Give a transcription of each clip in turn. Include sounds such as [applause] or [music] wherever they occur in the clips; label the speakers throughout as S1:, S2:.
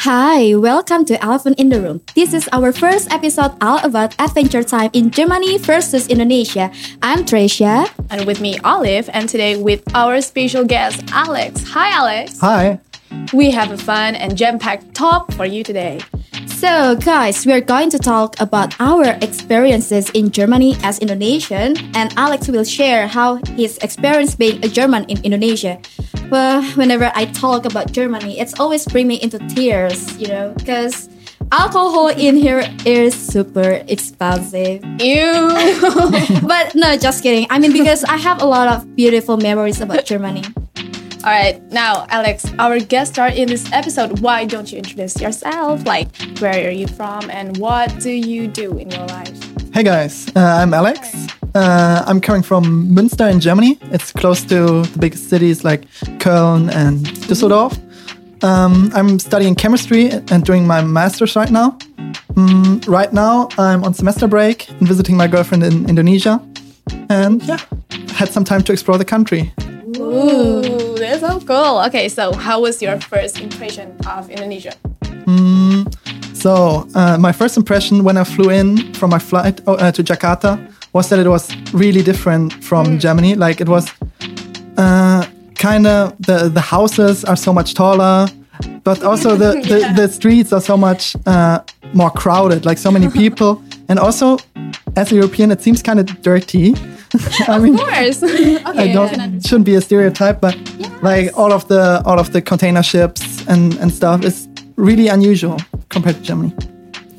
S1: Hi, welcome to Elephant in the Room. This is our first episode all about adventure time in Germany versus Indonesia. I'm Tricia.
S2: And with me, Olive, and today with our special guest, Alex. Hi, Alex.
S3: Hi.
S2: We have a fun and jam packed talk for you today.
S1: So, guys, we're going to talk about our experiences in Germany as Indonesian, and Alex will share how his experience being a German in Indonesia. Well, whenever I talk about Germany, it's always bring me into tears, you know, because alcohol in here is super expensive.
S2: Ew.
S1: [laughs] But no, just kidding. I mean, because I have a lot of beautiful memories about Germany.
S2: All right, now, Alex, our guest star in this episode, why don't you introduce yourself? Like, where are you from and what do you do in your life?
S3: Hey guys, uh, I'm Alex. Uh, I'm coming from Münster in Germany. It's close to the big cities like Köln and Düsseldorf. Um, I'm studying chemistry and doing my master's right now. Mm, right now, I'm on semester break and visiting my girlfriend in Indonesia. And yeah, had some time to explore the country.
S2: Ooh, that's so cool. Okay, so how was your first impression of Indonesia?
S3: So, uh, my first impression when I flew in from my flight oh, uh, to Jakarta was that it was really different from
S2: Mm.
S3: Germany. Like, it was uh, kind of the, the houses are so much taller, but also the,
S2: [laughs]
S3: the, the streets are so much uh, more crowded, like, so
S2: [laughs]
S3: many people. and also, as a European, it seems kind of dirty. [laughs] I mean,
S2: Of course. [laughs] okay,
S3: I don't shouldn't be a stereotype, but like all of the all of the container ships and and stuff is really unusual compared to Germany.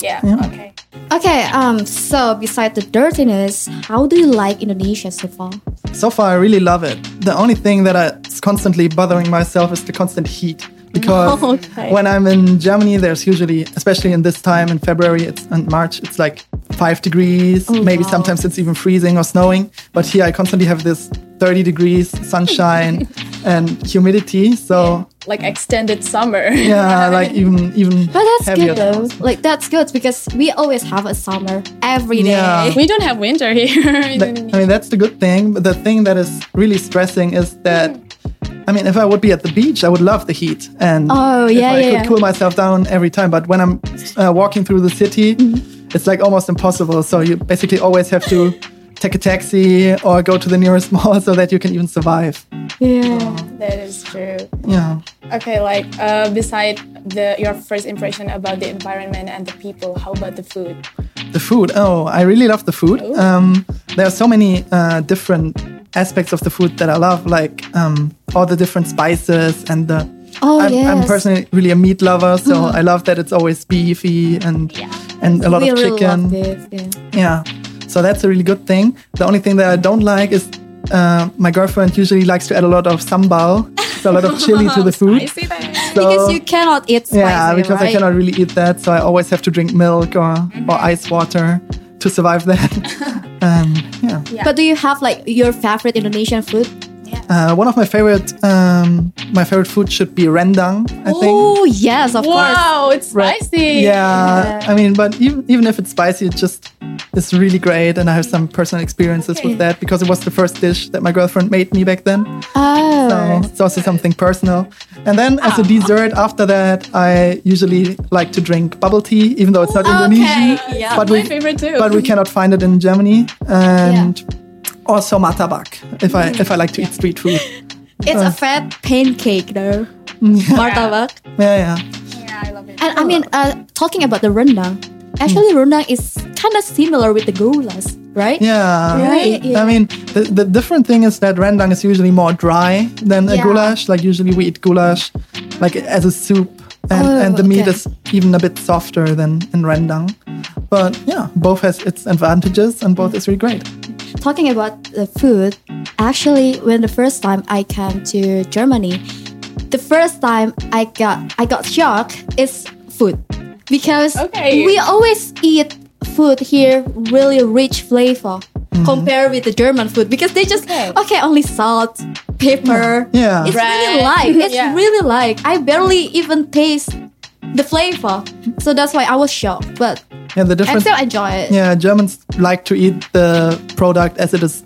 S2: Yeah, okay.
S1: Okay, um, so beside the dirtiness, how do you like Indonesia so far?
S3: So far, I really love it. The only thing that I- is constantly bothering myself is the constant heat
S1: [laughs]
S3: because
S2: Okay.
S3: when I'm in Germany, there's usually, especially in this time in February it's, and March, it's like five degrees. maybe
S1: Oh, wow.
S3: sometimes it's even freezing or snowing. But here, I constantly have this 30 degrees,
S1: [laughs]
S3: sunshine, and humidity. So
S2: Like extended summer.
S3: yeah, like even even
S1: But that's
S3: heavier
S1: good though.
S3: times.
S1: Like that's good because we always have a summer every day.
S3: Yeah.
S2: [laughs] We don't have winter here. [laughs] in
S3: Th- I
S2: Indonesia.
S3: mean, that's the good thing. But the thing that is really stressing is that, I mean, if I would be at the beach, I would love the heat. And
S1: Oh,
S3: if
S1: yeah,
S3: I
S1: yeah,
S3: could
S1: yeah.
S3: cool myself down every time. But when I'm uh, walking through the city,
S1: Mm-hmm.
S3: it's like almost impossible. So you basically always have to take a taxi or go to the nearest [laughs] mall so that you can even survive.
S1: Yeah.
S2: That is true.
S3: Yeah.
S2: Okay, like uh, beside the your first impression about the environment and the people, how about the food?
S3: The food. Oh, I really love the food.
S2: Oh.
S3: Um, there are so many uh, different aspects of the food that I love, like um, all the different spices and the.
S1: Oh
S3: I'm,
S1: yes. Uh-huh.
S3: I'm personally really a meat lover, so I love that it's always beefy and and a lot
S1: we
S3: of
S1: really
S3: chicken.
S1: love this, yeah.
S3: yeah, so that's a really good thing. The only thing that I don't like is uh, my girlfriend usually likes to add a lot of sambal, so a lot of chili
S1: [laughs]
S3: to the food.
S2: Spicy thing.
S3: So,
S1: Because you cannot eat spicy,
S3: yeah,
S1: right?
S3: because
S1: Mm-hmm.
S3: I cannot really eat that, so I always have to drink milk or, or ice water to
S1: [laughs]
S3: survive that. um, yeah.
S1: But do you have like your favorite Indonesian food?
S3: Uh, one of my favorite um, my favorite food should be rendang. I think.
S1: Oh yes, of course.
S2: Wow, it's spicy.
S3: Yeah, I mean, but even even if it's spicy, it just is really great, and I have some personal experiences with that because it was the first dish that my girlfriend made me back then.
S1: Oh.
S3: So it's also something personal. And then as a
S2: Ah.
S3: dessert after that, I usually like to drink bubble tea, even though it's not Indonesian.
S1: yeah.
S3: But
S2: My
S3: we
S2: favorite too.
S3: but we cannot find it in Germany, and also matabak if I if I like to eat street
S2: [laughs]
S3: food.
S1: It's a
S3: uh.
S1: fat pancake though.
S3: [laughs]
S1: Martabak.
S3: Yeah, yeah.
S2: yeah, I love it.
S1: And I mean, uh, talking about the rendang, actually rendang is kind of similar with the gulas, right?
S3: Hmm. Yeah.
S1: Right, yeah.
S3: I mean, the, the different thing is that rendang is usually more dry than
S1: Yeah.
S3: a goulash. Like usually we eat goulash like as a soup, and,
S1: Oh,
S3: and the meat
S1: okay.
S3: is even a bit softer than in rendang. But yeah, both has its advantages, and both is really great.
S1: Talking about the food, actually, when the first time I came to Germany, the first time I got I got shocked is food because
S2: Okay.
S1: we always eat food here really rich flavor compared with the German food because they just Mm-hmm. okay, Mm.
S2: Okay.
S1: only salt, pepper.
S3: Yeah.
S1: It's really
S2: Bread.
S1: light. It's [laughs]
S2: Yeah.
S1: really light. I barely even taste the flavor. So that's why I was shocked, but
S3: Yeah, the
S1: I
S3: difference.
S1: still enjoy it.
S3: Yeah, Germans like to eat the product as it is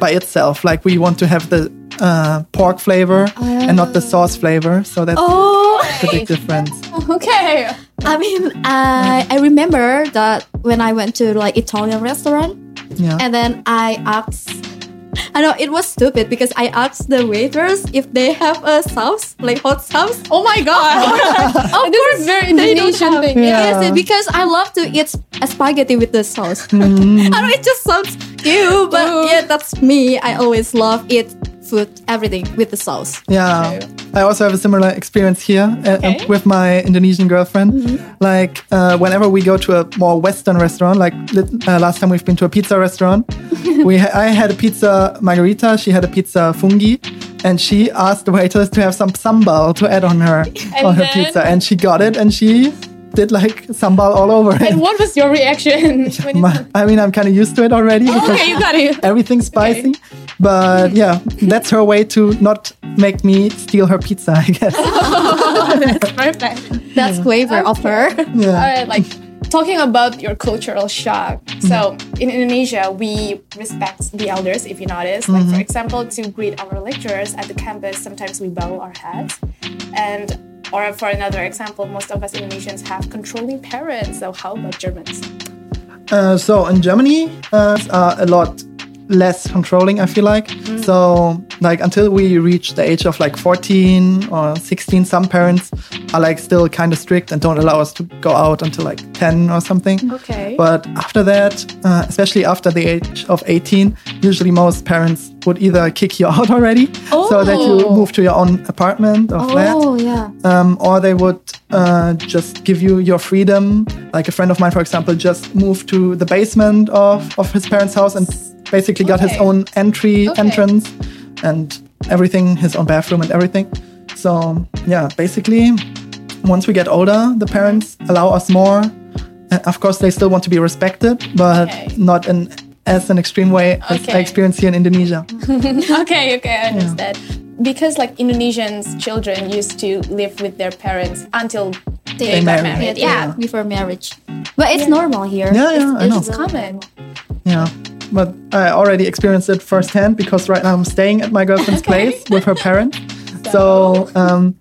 S3: by itself. Like we want to have the uh, pork flavor and not the sauce flavor. So that's
S1: Ah. Oh,
S3: big difference.
S2: Okay.
S1: I mean, I I remember that when I went to like Italian restaurant,
S3: Yeah.
S1: and then I asked. I know it was stupid because I asked the waiters if they have a sauce, like hot sauce.
S2: Oh my [laughs] god.
S1: Of
S2: this is very
S1: they don't
S2: Indonesian
S1: have.
S2: thing.
S3: Yeah.
S1: Yes, because I love to eat sp- spaghetti with the sauce. [laughs]
S3: Mm.
S1: I know it just sounds ew, but
S2: Ew.
S1: yeah, that's me. I always love eat food, everything with the sauce.
S3: Yeah,
S2: Okay.
S3: I also have a similar experience here uh,
S2: Okay. Mm-hmm.
S3: with my Indonesian girlfriend. Like, uh, whenever we go to a more Western restaurant, like lit- uh, last time we've been to a pizza
S2: [laughs]
S3: restaurant, we ha- I had a pizza margarita, she had a pizza fungi, and she asked the waiters to have some sambal to add on her on her
S2: then-
S3: pizza, and she got it, and she did like sambal all over it. [laughs]
S2: And what was your reaction when you
S3: My- I mean, I'm kind of used to it already. because
S2: Oh, Okay, you got it.
S3: everything's spicy. But yeah, that's her way to not make me steal her pizza, I guess.
S2: Perfect.
S1: That's flavor of her. [laughs]
S3: Yeah.
S2: All right, like talking about your cultural shock.
S3: Mm-hmm.
S2: So in Indonesia, we respect the elders. If you notice, like
S3: Mm-hmm.
S2: for example, to greet our lecturers at the campus, sometimes we bow our heads, and or for another example, most of us Indonesians have controlling parents. So how about Germans? [laughs]
S3: Uh, so in Germany, uh, are a lot less controlling, I feel like.
S2: Mm.
S3: So like until we reach the age of like 14 or 16, some parents are like still kind of strict and don't allow us to go out until like 10 or something.
S2: Okay.
S3: But after that, uh, especially after the age of 18, usually most parents would either kick you [laughs] out already, so that you
S2: Oh.
S3: move to your own apartment or flat
S1: Oh yeah.
S3: um, or they would uh, just give you your freedom. Like a friend of mine, for example, just moved to the basement of, of his parents' house and basically got his
S2: Okay.
S3: own entry
S2: Okay.
S3: entrance and everything, his own bathroom and everything. So yeah, basically, once we get older, the parents allow us more. And of course, they still want to be respected, but
S2: Okay.
S3: not in as an extreme way as I
S2: Okay.
S3: experience here in Indonesia.
S2: okay, okay, I understand. Because like Indonesians children used to live with their parents until
S1: They
S2: they got
S3: married.
S2: married.
S1: yeah,
S3: Yeah.
S1: before marriage. But it's
S2: Yeah.
S1: normal here.
S3: Yeah,
S1: It's-
S3: yeah, I
S1: it's,
S3: know.
S1: it's common.
S2: Common.
S3: Yeah, but I already experienced it firsthand because right now I'm staying at my
S1: [laughs]
S3: girlfriend's place with her parents. So, um,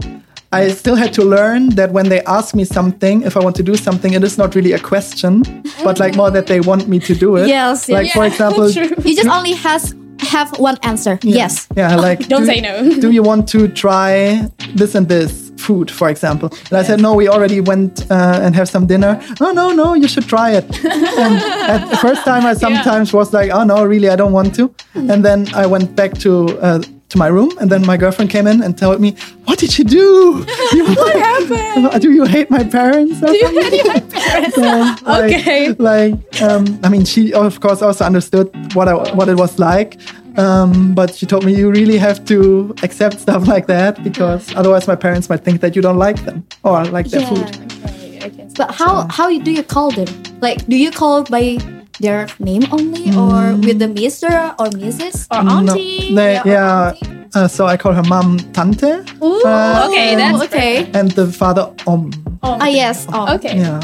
S3: I still had to learn that when they ask me something, if I want to do something, it is not really a question, but like more that they want me to do it.
S1: Yes,
S3: Like
S1: yes. [laughs]
S3: for example,
S2: True.
S1: You just only has have one answer. Yes.
S3: Hmm? yeah, like
S2: Don't
S3: do-
S2: say no.
S3: [laughs] do you want to try this and this food, for example? And I said, no, we already went uh, and have some dinner. Oh, no, no, you should try
S2: [laughs]
S3: it. and at the first time, I sometimes was like, oh, no, really, I don't want to. And then I went back to. Uh, to my room, and then my girlfriend came in and told me, "What did you
S2: [laughs]
S3: do? You- [laughs] what
S2: happened?
S3: Do you hate my parents?" Or something? [laughs] Um, like,
S2: Okay.
S3: Like, um, I mean, she of course also understood what I, what it was like, um, but she told me you really have to accept stuff [laughs] like that because otherwise my parents might think that you don't like them or like their
S1: Yeah.
S3: food.
S2: Okay, I can see.
S1: But how how do you call them? Like, do you call by their name only, or
S3: Hmm.
S1: with the Mister or Mrs.
S2: or
S3: No,
S2: auntie.
S3: they-
S2: or
S3: yeah.
S2: auntie.
S3: Uh, so I call her mom tante
S2: Ooh,
S3: Uh,
S2: okay, that's
S1: okay.
S3: and the father om.
S2: Oh,
S1: Ah yes. Oh.
S2: okay.
S3: Yeah.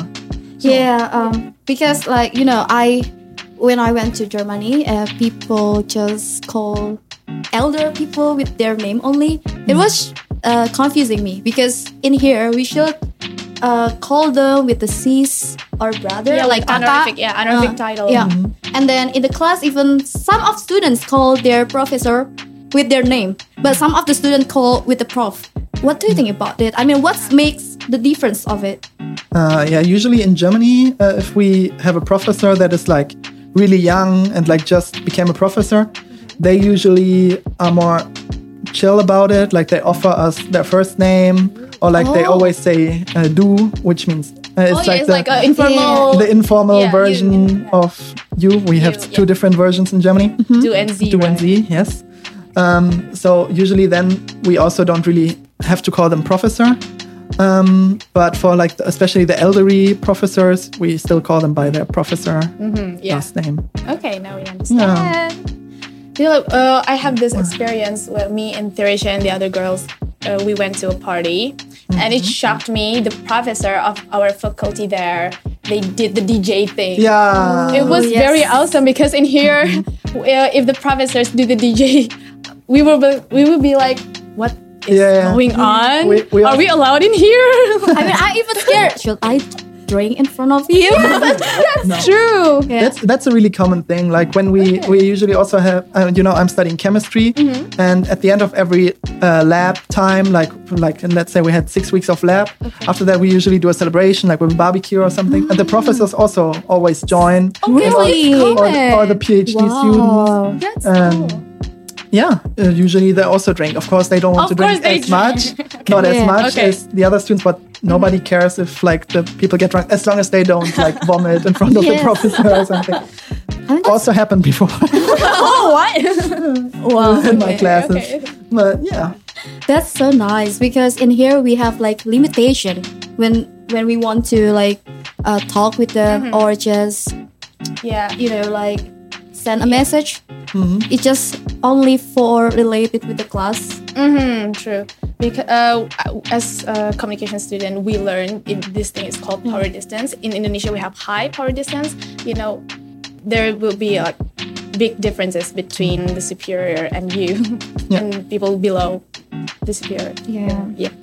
S1: Yeah. Um. Because like you know, I when I went to Germany, uh, people just call elder people with their name only.
S2: Hmm.
S1: It was uh, confusing me because in here we should uh, call them with the sis or brother,
S2: Yeah,
S1: like
S2: like
S1: kakak.
S2: honorific, yeah, honorific
S1: Uh,
S2: title. Hmm.
S1: Yeah. And then in the class, even some of students call their professor with their name, but some of the students call with the prof. What do you
S2: Hmm.
S1: think about it? I mean, what makes the difference of it?
S3: Uh, yeah, usually in Germany, uh, if we have a professor that is like really young and like just became a professor, they usually are more chill about it. Like they offer us their first name, or like they
S1: Oh.
S3: always say uh, "du," which means uh, it's
S2: Oh, yeah,
S3: like
S2: it's
S3: the,
S2: like an informal
S3: the informal
S2: Yeah, you-
S3: version
S2: yeah.
S3: of "you." We have two
S2: You, yeah. Mm-hmm.
S3: different versions in Germany.
S2: do and Z.
S3: Do and
S2: right?
S3: Z, yes. Um, so usually then we also don't really have to call them professor. Um, but for like the- especially the elderly professors, we still call them by their professor
S2: Mm, yeah.
S3: last name.
S2: Okay, now we understand. You know, uh, I have this experience where me and Theresia and the other girls, uh, we went to a party, and it
S3: Mm-hmm.
S2: shocked me. The professor of our faculty there, they did the DJ thing.
S3: Yeah.
S2: It was
S1: Oh, yes.
S2: very awesome because in here, [laughs] uh, if the professors do the DJ, we will be, we will be like, what is
S3: Yeah, yeah.
S2: going on?
S3: We- we
S2: are,
S3: are-
S2: we allowed in here?
S1: [laughs] I
S2: [laughs]
S1: mean, I even [laughs] scared. Should I drink in front of you?
S3: No.
S2: True.
S1: Yeah.
S3: That's that's a really common thing. Like when we we usually also have, uh, you know, I'm studying chemistry,
S1: Mm-hmm.
S3: and at the end of every uh, lab time, like like and let's say we had six weeks of lab. After that, we usually do a celebration, like with a barbecue or something. And the professors also always join,
S1: Ah. Oh, really?
S3: or, or the PhD students.
S1: Wow.
S2: That's
S3: Um, Yeah, uh, usually they also drink. Of course, they don't want to
S2: Of
S3: drink
S2: course they
S3: as much, [laughs] not
S1: Yeah.
S3: as much
S2: Okay. Mm.
S3: as the other students, but nobody cares if like the people get drunk as long as they don't
S2: [laughs]
S3: like vomit in front of
S1: Yes.
S3: the professor or
S1: [laughs]
S3: something.
S1: mean, that's-
S3: also happened before [laughs]
S2: oh, what?
S3: in my classes,
S2: okay.
S3: but yeah,
S1: That's so nice because in here we have like limitation when when we want to like uh, talk with them or just
S2: [laughs] yeah.
S1: you know like send a message.
S3: Mm-hmm.
S1: It's just only for related with the class.
S2: Mm-hmm, true. Because uh, as a communication student, we learn in this thing is called power distance. In Indonesia, we have high power distance. You know, there will be like big differences between the superior and you, [laughs]
S3: Yeah.
S2: and people below the superior.
S1: Yeah.
S2: Yeah.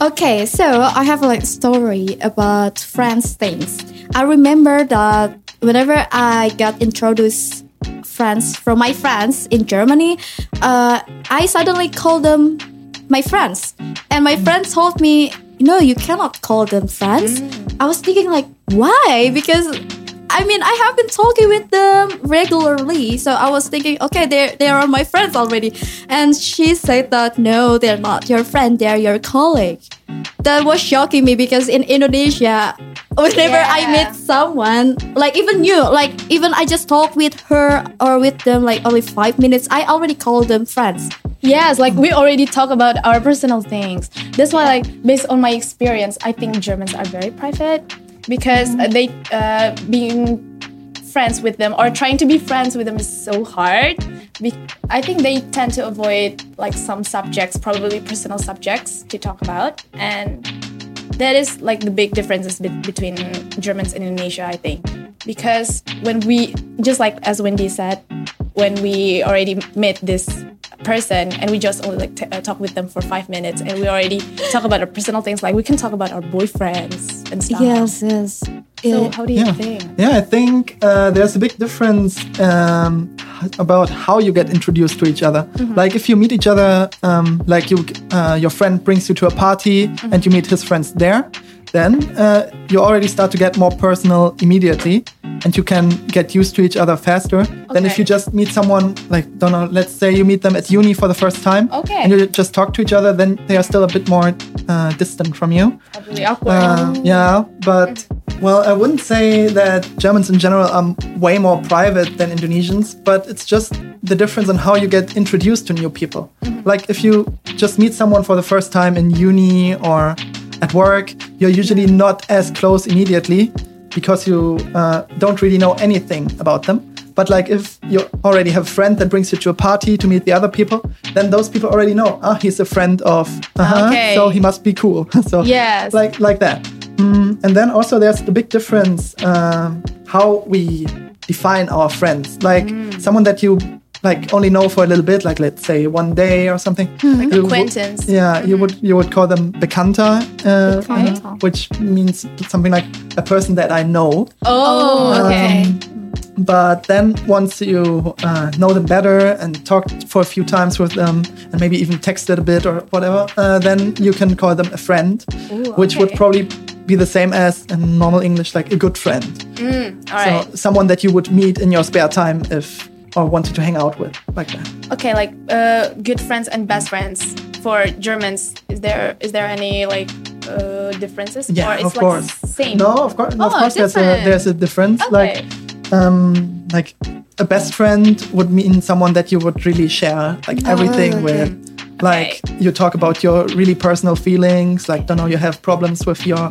S1: Okay, so I have like story about friends things. I remember that whenever I got introduced friends from my friends in Germany, uh, I suddenly called them my friends, and my friends told me, "No, you cannot call them friends." I was thinking like, why? Because I mean, I have been talking with them regularly, so I was thinking, okay, they they are my friends already. And she said that no, they're not your friend; they're your colleague. That was shocking me because in Indonesia, whenever I
S2: Yeah.
S1: meet someone, like even you, like even I just talk with her or with them like only five minutes, I already call them friends.
S2: Yes, like we already talk about our personal things. That's why, like based on my experience, I think Germans are very private because uh, they uh, being friends with them or trying to be friends with them is so hard. Be- I think they tend to avoid like some subjects, probably personal subjects, to talk about, and that is like the big differences be- between Germans and Indonesia, I think. Because when we, just like as Wendy said, when we already met this person and we just only like t- uh, talk with them for five minutes and we already talk about our personal things, like we can talk about our boyfriends and stuff.
S1: Yes, yes.
S2: So
S1: Yeah.
S2: how do you
S3: yeah,
S2: think?
S3: yeah. I think uh, there's a big difference um, h- about how you get introduced to each other.
S2: Mm-hmm.
S3: Like if you meet each other, um, like you, uh, your friend brings you to a party
S2: Mm-hmm.
S3: and you meet his friends there. Then uh, you already start to get more personal immediately, and you can get used to each other faster than if
S2: Okay.
S3: you just meet someone like don't know. Let's say you meet them at uni for the first time,
S2: Okay.
S3: and you just talk to each other. Then they are still a bit more uh, distant from you.
S2: Probably awkward.
S3: Uh, yeah, but well, I wouldn't say that Germans in general are way more private than Indonesians, but it's just the difference in how you get introduced to new people. Like if you just meet someone for the first time in uni or at work, you're usually not as close immediately because you uh, don't really know anything about them. But like if you already have a friend that brings you to a party to meet the other people, then those people already know, ah, he's a friend of, uh-huh,
S2: Okay.
S3: so he must be cool. [laughs] so
S2: Yes.
S3: like like that. Mm, and then also there's the big difference um, how we define our friends. Like
S2: Mm.
S3: someone that you like only know for a little bit, like let's say one day or something. Like
S2: Hmm. acquaintance. Mm-hmm.
S3: yeah, you would you would call them bekannter, uh,
S1: Bekannter.
S3: which means something like a person that I know.
S2: oh, okay.
S3: But then once you uh, know them better and talked for a few times with them and maybe even texted a bit or whatever, uh, then you can call them a friend, which would
S2: okay.
S3: probably be the same as in normal English, like a good friend.
S2: All right.
S3: So someone that you would meet in your spare time if or wanted to hang out with, like that.
S2: okay, like uh, good friends and best friends for Germans. Is there is there any like uh, differences?
S3: Yeah,
S2: or it's
S3: of
S2: like
S3: course.
S2: Same.
S3: No, of course, of
S2: Oh,
S3: course, there's a
S2: different.
S3: there's a difference. Like
S2: Okay.
S3: um, like a best friend would mean someone that you would really share like everything
S1: okay.
S3: with. Like you talk about your really personal feelings, like don't know you have problems with your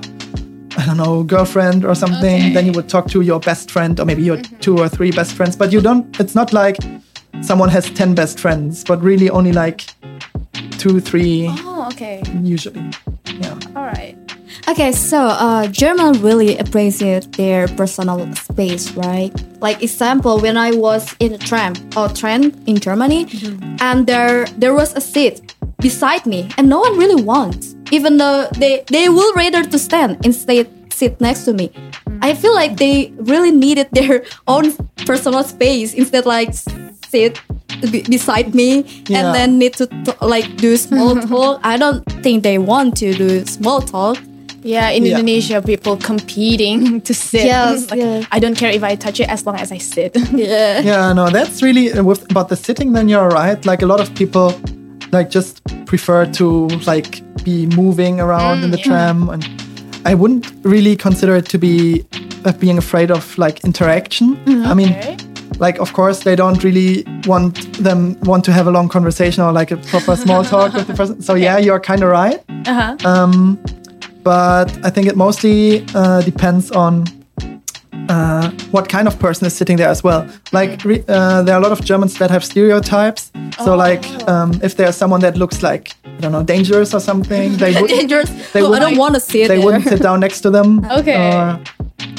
S3: I don't know girlfriend or something. Then you would talk to your best friend or maybe your two or three best friends. But you don't. It's not like someone has ten best friends, but really only like two, three
S2: Oh, okay.
S3: usually. Yeah.
S2: All right.
S1: Okay, so uh, German really appreciate their personal space, right? Like example, when I was in a tram or train in Germany, and there there was a seat beside me, and no one really wants. Even though they they will rather to stand instead sit next to me. I feel like they really needed their [laughs] own personal space instead like sit be- beside me
S3: Yeah.
S1: and then need to t- like do small talk. I don't think they want to do small talk.
S2: Yeah, in
S3: Yeah.
S2: Indonesia, people competing [laughs] to sit.
S1: Yes,
S2: Like,
S1: yeah.
S2: I don't care if I touch it as long as I [laughs] sit.
S1: Yeah.
S3: [laughs] Yeah, no, that's really uh, with about the sitting. Then you're right. Like a lot of people, like just prefer to like be moving around in the tram, and I wouldn't really consider it to be uh, being afraid of like interaction. I mean,
S2: Okay.
S3: like of course they don't really want them want to have a long conversation or like a proper small talk with the person. So yeah, you're kind of right.
S2: Uh-huh.
S3: Um, but I think it mostly uh, depends on uh, what kind of person is sitting there as well. Like, re- uh, there are a lot of Germans that have stereotypes. So, like, um, if there's someone that looks like, I don't know, dangerous or something, they,
S1: [laughs]
S3: would,
S1: Dangerous.
S3: They
S1: Who I
S3: wouldn't-
S1: don't want to sit
S3: they
S1: there. [laughs]
S3: wouldn't sit down next to them.
S2: Okay.
S3: Or,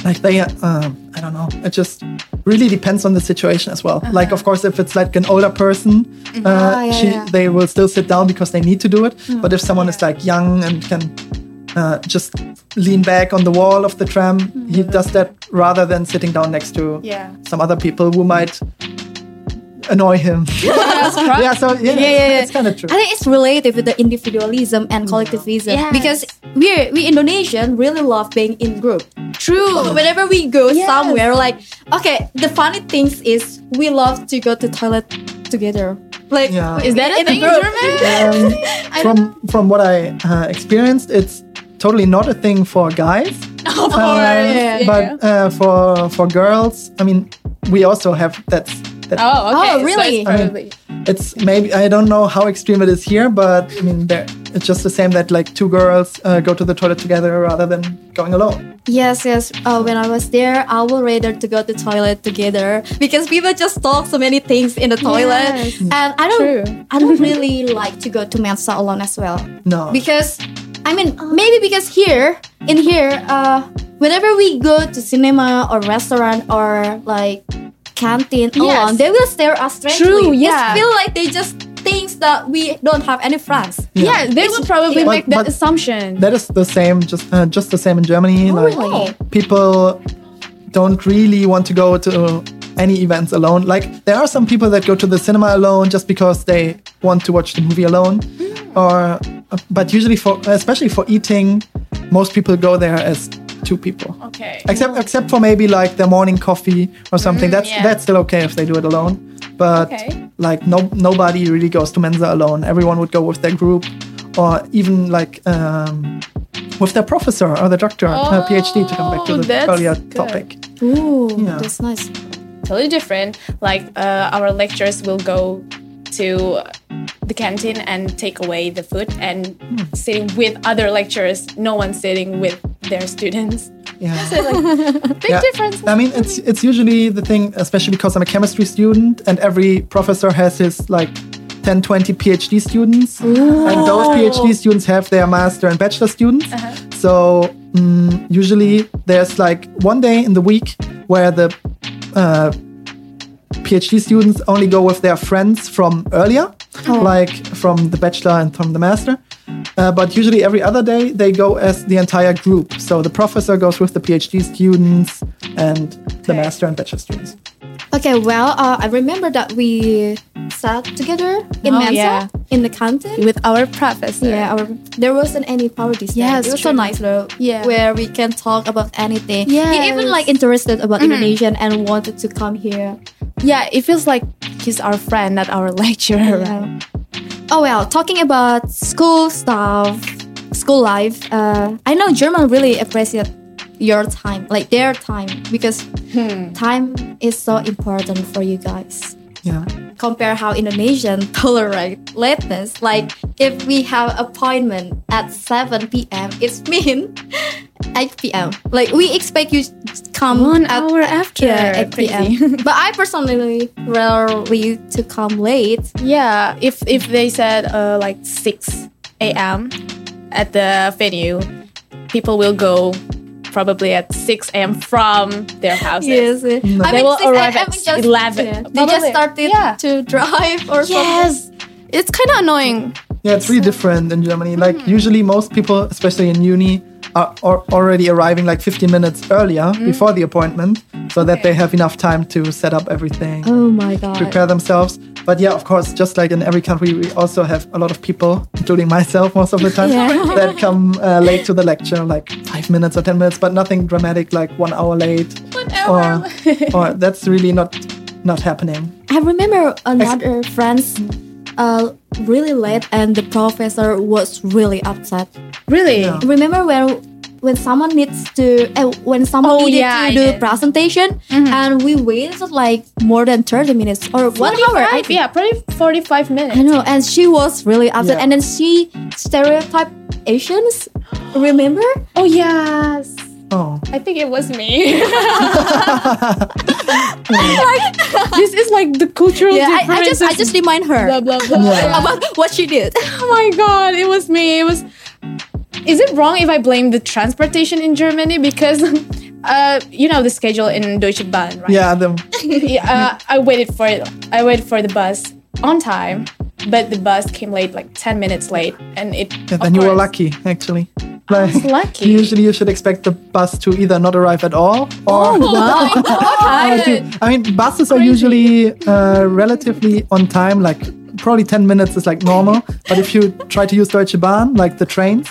S3: like, they, uh, um, I don't know. It just really depends on the situation as well. Like, of course, if it's like an older person, uh,
S1: Uh-huh. Mm-hmm. Ah, yeah,
S3: she,
S1: yeah. Mm.
S3: they will still sit down because they need to do it. But if someone is like young and can uh, just lean back on the wall of the tram. He
S1: Mm-hmm.
S3: does that rather than sitting down next to
S2: Yeah.
S3: some other people who might annoy
S1: [laughs]
S3: him. [laughs] yeah, so yeah,
S1: yeah, yeah.
S3: it's kind of true.
S1: I think it's related with the individualism and collectivism
S2: Yes.
S1: because we we Indonesian really love being in group. True. Whenever we go
S2: Yes.
S1: somewhere, like okay, the funny things is we love to go to toilet together. Like
S3: Yeah.
S2: Is that a
S1: in
S2: thing in
S1: group.
S2: Germany?
S3: Um,
S1: [laughs] I don't know.
S3: from from what I uh, experienced, it's totally not a thing for guys.
S2: Of course.
S1: yeah.
S3: But uh, for for girls, I mean, we also have that. that
S2: oh, okay.
S1: Oh,
S2: So
S1: really?
S2: it's probably-
S3: it's maybe I don't know how extreme it is here, but I mean, there it's just the same that like two girls uh, go to the toilet together rather than going alone.
S1: Yes, yes. Uh, when I was there, I would rather to go to toilet together because people just talk so many things in the toilet,
S2: Yes.
S1: and I don't,
S2: True.
S1: I don't really like to go to mensa alone as well.
S3: No,
S1: because I mean maybe because here in here uh whenever we go to cinema or restaurant or like canteen alone they will stare us strangely
S2: True,
S1: Just
S2: yeah.
S1: feel like they just thinks that we don't have any friends
S2: Yeah, they would probably
S3: But-
S2: make
S3: but-
S2: that assumption.
S3: that is the same. Just uh, just the same in Germany. like
S1: really?
S3: people don't really want to go to any events alone. Like there are some people that go to the cinema alone just because they want to watch the movie alone, or uh, but usually for especially for eating, most people go there as two people.
S2: okay.
S3: except except for maybe like the morning coffee or something. that's
S2: Mm, yeah.
S3: that's still okay if they do it alone. But
S2: Okay.
S3: like no nobody really goes to Mensa alone. Everyone would go with their group, or even like um, with their professor or the doctor, uh, PhD. To come back to
S2: Oh,
S3: the
S2: that's
S3: earlier
S2: good.
S3: topic.
S1: ooh
S3: Yeah.
S1: that's nice
S2: totally different. Like uh, our lecturers will go to the canteen and take away the food and sitting with other lecturers. No one sitting with their students.
S3: Yeah.
S2: Big
S3: Yeah.
S2: difference.
S3: I mean, it's it's usually the thing, especially because I'm a chemistry student, and every professor has his like 10, 20 PhD students, and those PhD students have their master and bachelor students.
S2: Uh-huh.
S3: So mm, usually there's like one day in the week where the uh, PhD students only go with their friends from earlier,
S2: Oh.
S3: like from the bachelor and from the master. Uh, but usually every other day they go as the entire group. So the professor goes with the PhD students and the
S2: Okay.
S3: master and bachelor students.
S1: okay well uh, I remember that we sat together in
S2: Oh,
S1: mensa
S2: yeah.
S1: in the canteen
S2: with our professor.
S1: Yeah, our, there wasn't any poverty state.
S2: Yes,
S1: it was so
S2: true.
S1: nice though.
S2: Yeah.
S1: where we can talk about anything. he even
S2: Yes. Mm-hmm.
S1: like interested about Indonesian and wanted to come here.
S2: Yeah, it feels like he's our friend, not our [laughs] lecturer. right?
S1: Yeah. Oh well, talking about school stuff, school life. Uh, I know German really appreciate your time, like their time, because
S2: Hmm.
S1: time is so important for you guys.
S3: Yeah.
S1: compare how Indonesian [laughs] tolerate lateness. Like if we have appointment at 7 p.m., it's mean [laughs] 8 p.m. Like we expect you come
S2: One
S1: at,
S2: hour after.
S1: yeah, 8
S2: Crazy. [laughs]
S1: p.m. [laughs] but I personally rarely to come late.
S2: Yeah, if if they said uh, like six a.m. at the venue, people will go probably at six a.m. from their houses.
S1: Yes, I mean,
S2: Mm-hmm. They will
S1: 6
S2: arrive
S1: a.m.
S2: at
S1: just,
S2: 11.
S1: yeah, they just
S2: Probably.
S1: started
S2: Yeah.
S1: to drive or something.
S2: Yes, it's kind of annoying
S3: Yeah, it's really different in Germany. Like usually most people, especially in uni, are, are already arriving like 15 minutes earlier before the appointment so that they have enough time to set up everything,
S1: Oh my god.
S3: prepare themselves. But yeah, of course, just like in every country, we also have a lot of people, including myself most of the time,
S1: Yeah.
S3: [laughs] that come uh, late to the lecture, like five minutes or 10 minutes, but nothing dramatic like one hour
S2: [laughs]
S3: late.
S2: Whatever.
S3: Or, or that's really not not happening.
S1: I remember another friend's uh, really late and the professor was really upset.
S2: really?
S1: Remember when when someone needs to uh, when someone
S2: Oh,
S1: needed
S2: yeah, I
S1: to do
S2: did. Mm-hmm.
S1: presentation and we waited like more than 30 minutes or 1 hour I
S2: Forty-five.
S1: think.
S2: Yeah, probably forty-five minutes.
S1: I know and she was really upset
S3: Yeah.
S1: and then she stereotyped Asians
S2: [laughs]
S1: remember
S2: Oh yes,
S3: Oh.
S2: I think it was me. like [laughs] this is like the cultural
S1: yeah I,
S2: difference.
S1: I just I just remind her
S2: blah blah blah.
S3: Yeah.
S1: about what she did
S2: Oh my god, it was me. It was. Is it wrong if I blame the transportation in Germany because, [laughs] uh, you know the schedule in Deutsche Bahn, right?
S3: Yeah,
S2: [laughs]
S3: the,
S2: Yeah, uh, I waited for it. I waited for the bus on time, but the bus came late, like ten minutes late, and it.
S3: yeah,
S2: of
S3: then you were
S2: course- [laughs]
S3: lucky, actually. Like,
S2: was lucky.
S3: Usually, you should expect the bus to either not arrive at all
S2: Oh.
S3: or.
S1: wow
S2: [laughs]
S3: I, think- I mean, buses are usually uh, relatively on time, like probably 10 minutes is like normal. But if you try to use Deutsche Bahn, like the trains,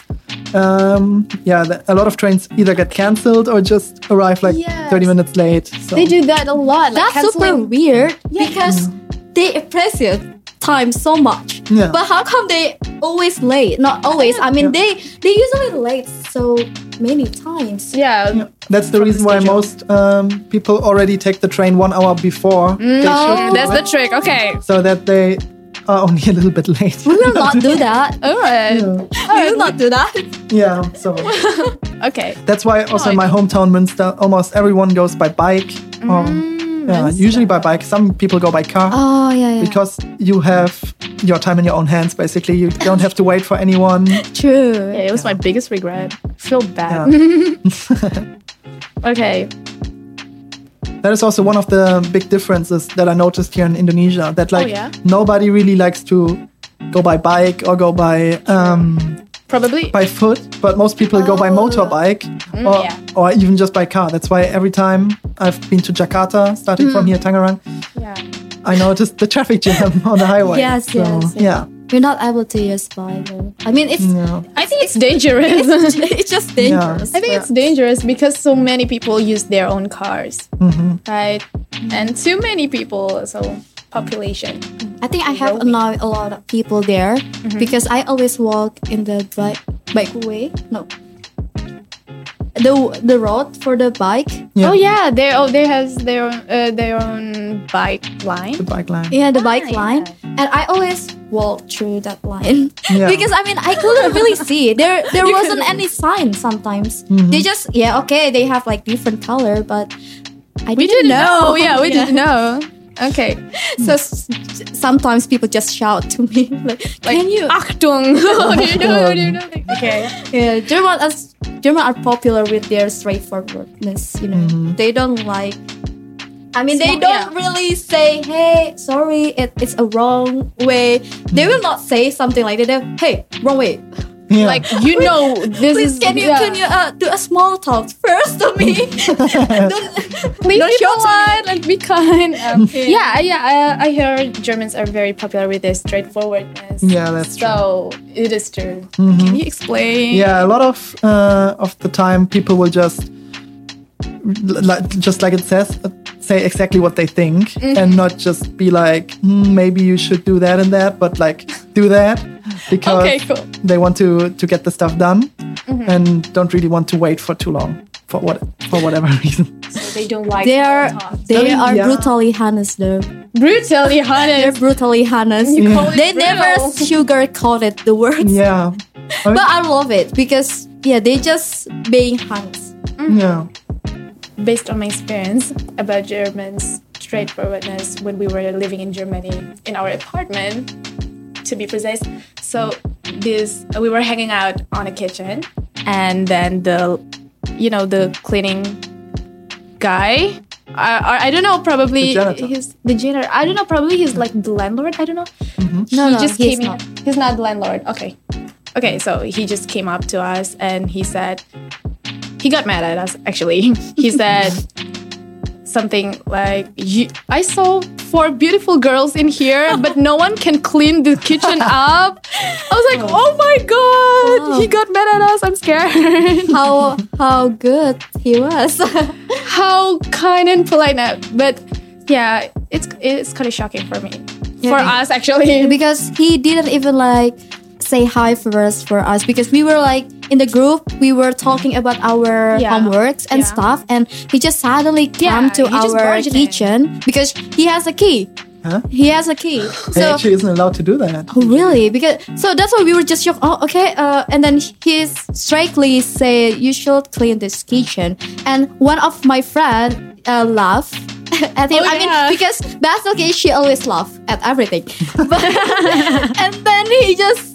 S3: um, yeah, the, a lot of trains either get cancelled or just arrive like
S2: Yes.
S3: 30 minutes late. So.
S2: They do that a lot. Like
S1: That's super
S2: canceling-
S1: weird because they appreciate time so much.
S3: Yeah.
S1: But how come they always late? Not always. I mean, they they usually late so many times.
S2: Yeah,
S3: That's the reason why most um, people already take the train one hour before
S1: Oh.
S3: they should,
S2: Mm, that's the trick. Okay,
S3: so that they are only a little bit late.
S1: We
S3: [laughs]
S1: will not do [laughs] that.
S2: all right.
S1: we will not do that.
S3: yeah, so.
S2: Okay,
S3: That's why also in my hometown Münster, almost everyone goes by bike. Um, yeah, usually by bike. Some people go by car
S1: Oh yeah, yeah.
S3: because you have your time in your own hands. Basically, you don't have to wait for anyone.
S1: True.
S2: it was my biggest regret. I feel bad. [laughs] Okay,
S3: That is also one of the big differences that I noticed here in Indonesia. That like
S2: yeah?
S3: nobody really likes to go by bike or go by um,
S2: probably.
S3: by foot, but most people go by motorbike or,
S2: yeah.
S3: or even just by car. That's why every time I've been to Jakarta, starting from here Tangerang,
S2: Yeah.
S3: I noticed the traffic jam [laughs] on the highway.
S1: Yes,
S3: so,
S1: yes, yes.
S3: Yeah.
S1: We're not able to use Bible. I mean, it's
S3: No.
S2: I think it's dangerous.
S1: [laughs]
S2: [laughs]
S1: it's just dangerous.
S2: I think it's dangerous because so many people use their own cars,
S3: Mm-hmm.
S2: right? And too many people, so population.
S1: I think I have annoyed a lot of people there because I always walk in the bike bike way. No. The the road for the bike.
S3: Yeah.
S2: Oh yeah, they oh they has their own, uh, their own bike line.
S3: The bike line.
S1: Yeah, the bike
S2: Nice.
S1: line. And I always walk through that line.
S3: Yeah.
S1: because I mean I couldn't
S2: [laughs]
S1: really see. There there wasn't any sign sometimes. They just yeah, okay, they have like different color, but I
S2: We
S1: didn't,
S2: didn't
S1: [laughs]
S2: know. [laughs] Yeah, we didn't know. Okay,
S1: So s- sometimes people just shout to me [laughs] like,
S2: like
S1: "Can you
S2: [laughs] Achtung. Oh, Do you know? Do you know? Okay.
S1: Yeah, Uh, German as German are popular with their straightforwardness. You know, they don't like. I mean, they
S2: Small-
S1: don't
S2: yeah.
S1: really say, "Hey, sorry, it, it's a wrong way." They will not say something like that. They'll, "Hey, wrong way."
S3: Yeah.
S2: Like you know, this
S1: Please,
S2: is.
S1: can you can
S2: Mm-hmm. yeah.
S1: you uh, do a small talk first to
S2: [laughs]
S1: me? don't,
S2: Leave
S1: don't
S2: people
S1: shout to me.
S2: alone, like be [laughs] kind. Um,
S1: Okay.
S2: Yeah, yeah. I, I hear Germans are very popular with their straightforwardness.
S3: Yeah, that's true. Mm-hmm.
S2: so it is true. Can you explain?
S3: yeah, a lot of uh, of the time people will just like just like it says uh, say exactly what they think and not just be like "Hmm, maybe you should do that and that but like do that because
S2: Okay, cool.
S3: they want to to get the stuff done and don't really want to wait for too long for what for whatever [laughs] reason
S2: So they don't like.
S1: They are
S2: small talks.
S1: they
S3: Yeah.
S1: are brutally honest though.
S2: brutally
S1: They're
S2: honest.
S1: brutally honest.
S2: You call it
S1: They never
S2: brutal.
S1: sugar coated the words.
S3: yeah I mean,
S1: But I love it because yeah, they just being honest.
S3: yeah
S2: Based on my experience about Germans' straightforwardness when we were living in Germany in our apartment, to be precise. So this we were hanging out on a kitchen, and then the, you know, the cleaning guy I, I don't know. Probably
S3: The janitor.
S2: he's the janitor. I don't know. Probably he's like the landlord. I don't know.
S1: No,
S2: he
S1: no,
S2: just
S1: he's
S2: came.
S1: not.
S2: In. He's not the landlord. Okay, okay. So he just came up to us and he said, he got mad at us. Actually, [laughs] he said something like, "You- "I saw four beautiful girls in [laughs] here, but no one can clean the [laughs] kitchen up." I was like, "Oh my god!"
S1: Wow.
S2: He got mad at us. I'm
S1: [laughs]
S2: scared. [laughs]
S1: how how good he was. [laughs]
S2: how kind and polite now. But yeah, it's it's kind of shocking for me. for
S1: be-
S2: us, actually.
S1: because he didn't even like say hi first for us because we were like in the group we were talking about our
S2: Yeah.
S1: homeworks and
S2: Yeah.
S1: stuff and he just suddenly
S2: Yeah,
S1: came to
S2: he just
S1: our
S2: barged in.
S1: kitchen because he has a key
S3: Huh?
S1: he has a key
S3: He
S1: so
S3: actually isn't allowed to do that.
S1: Oh, really? Because so that's why we were just shocked. Oh, okay. Uh, and then he strictly said you should clean this kitchen. And one of my friend uh, laughed [laughs] at him.
S2: Oh,
S1: I
S2: yeah.
S1: mean, because that's okay. She always laughs at
S2: [laughs]
S1: everything. But, [laughs] and then he just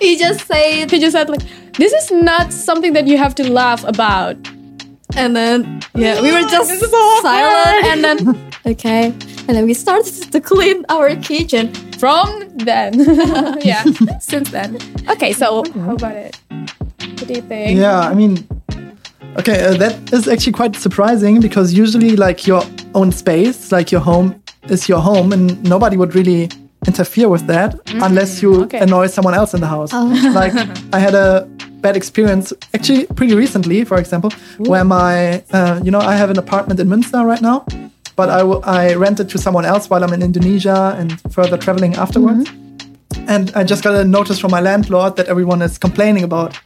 S1: he just said,
S2: He just said like, "This is not something that you have to laugh about."
S1: and then yeah, we were just
S2: This is so awkward.
S1: silent. And then [laughs] okay, and then we started to clean our kitchen.
S2: From then, [laughs]
S3: [laughs]
S2: yeah, since then. Okay, so how about it? What do you think?
S3: Yeah, I mean, okay, uh, that is actually quite surprising because usually, like, your own space, like your home, is your home, and nobody would really interfere with that unless you
S2: okay.
S3: annoy someone else in the house. [laughs] like, I had a bad experience actually pretty recently, for example, where my, uh, you know, I have an apartment in Münster right now. But I, w- I rent it to someone else while I'm in Indonesia and further traveling afterwards and I just got a notice from my landlord that everyone is complaining about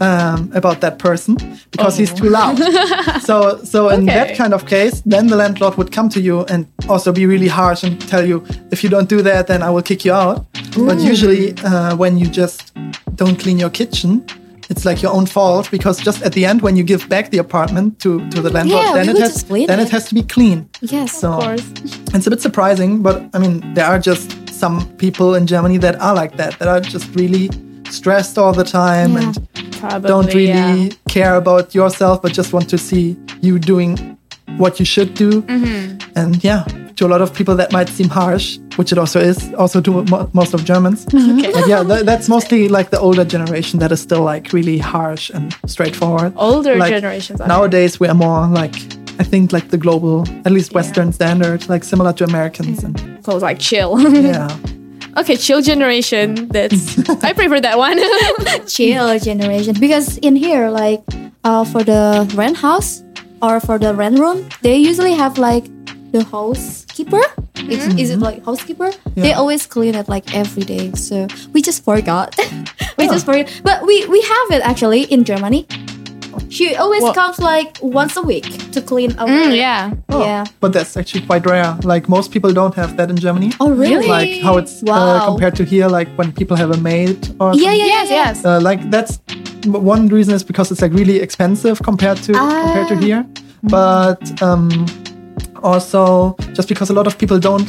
S3: um, about that person because he's too loud.
S1: Oh.
S3: so so in
S2: Okay.
S3: that kind of case, then the landlord would come to you and also be really harsh and tell you if you don't do that, then I will kick you out. But usually, uh, when you just don't clean your kitchen. It's like your own fault because just at the end when you give back the apartment to, to the landlord,
S1: Yeah,
S3: then
S1: we
S3: it
S1: would
S3: has
S1: just clean
S3: then
S1: it.
S3: it has to be clean.
S1: Yes.
S3: So
S2: Of course.
S3: it's a bit surprising, but I mean, there are just some people in Germany that are like that, that are just really stressed all the time
S1: Yeah.
S3: and
S2: Probably.
S3: don't really
S2: yeah.
S3: care about yourself, but just want to see you doing what you should do.
S2: Mm-hmm.
S3: And yeah, to a lot of people, that might seem harsh, which it also is, also to mo- most of
S2: [laughs]
S3: Germans. But yeah, tha- that's mostly like the older generation that is still like really harsh and straightforward.
S2: Older
S3: Like,
S2: generations. Are
S3: Nowadays, we are more like, I think, like the global, at least Western standard, like similar to Americans. And
S2: so like chill. [laughs]
S3: yeah.
S2: okay, chill generation. That's I prefer
S3: [laughs]
S2: that one.
S1: chill generation because in here like uh, for the rent house or for the rent room they usually have like the housekeeper It's is, it like housekeeper they
S3: Mm-hmm. Yeah.
S1: always clean it like every day so we just forgot [laughs] we
S3: Oh.
S1: just forgot but we we have it actually in germany she always
S3: Well-
S1: comes like once a week to clean our
S2: Mm, yeah.
S3: Oh,
S1: yeah
S3: But that's actually quite rare. Like most people don't have that in Germany.
S1: oh really
S3: Like how it's uh,
S1: Wow.
S3: compared to here, like when people have a maid or
S1: yeah yeah, yeah
S2: Yes.
S1: yeah.
S2: Yes.
S3: Uh, like that's one reason is because it's like really expensive compared to compared to
S1: Ah.
S3: here. But um, also just because a lot of people don't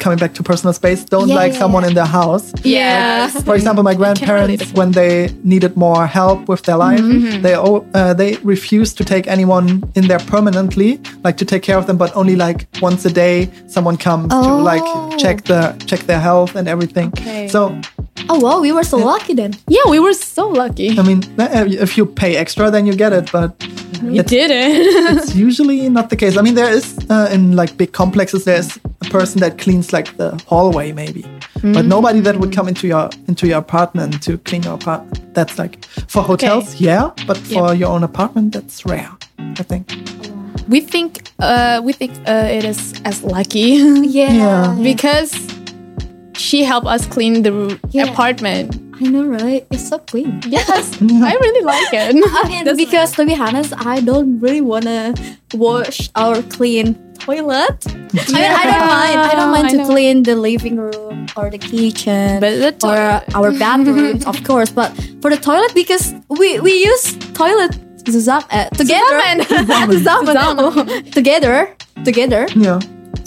S3: coming back to personal space don't
S1: Yeah,
S3: like
S1: yeah,
S3: someone
S1: yeah.
S3: in their house.
S2: Yeah.
S3: For example, my grandparents, when they needed more help with their life,
S2: Mm-hmm.
S3: they o- uh, they refused to take anyone in there permanently, like to take care of them, but only like once a day, someone comes to
S1: Oh.
S3: like check the check their health and everything.
S2: Okay.
S3: So
S1: oh wow we were so lucky then
S2: Yeah, we were so lucky.
S3: I mean, uh, if you pay extra, then you get it, but
S2: You
S3: [laughs]
S2: didn't.
S3: it's usually not the case. I mean, there is uh, in like big complexes, there's a person that cleans like the hallway maybe, but nobody that would come into your into your apartment to clean your apartment. That's like for hotels, yeah, but for your own apartment, that's rare. I think.
S2: we think uh, we think uh, it is as
S3: [laughs]
S2: lucky
S1: yeah,
S2: because she helped us clean the r-
S1: Yeah.
S2: apartment.
S1: i know right it's so clean
S3: [laughs]
S2: Yes, I really like
S1: I [laughs]
S2: it.
S1: mean, because to be honest, I don't really wanna wash or clean toilet. I mean, I don't
S2: Yeah.
S1: mind. I don't mind
S2: I
S1: to
S2: know.
S1: clean the living room or the kitchen
S2: But the
S1: or uh,
S2: toilet- [laughs]
S1: our bathrooms, of course. But for the toilet, because we we use toilet zusammen, uh, together [laughs] Zusammen.
S2: Zusammen.
S1: [laughs] together together.
S3: Yeah.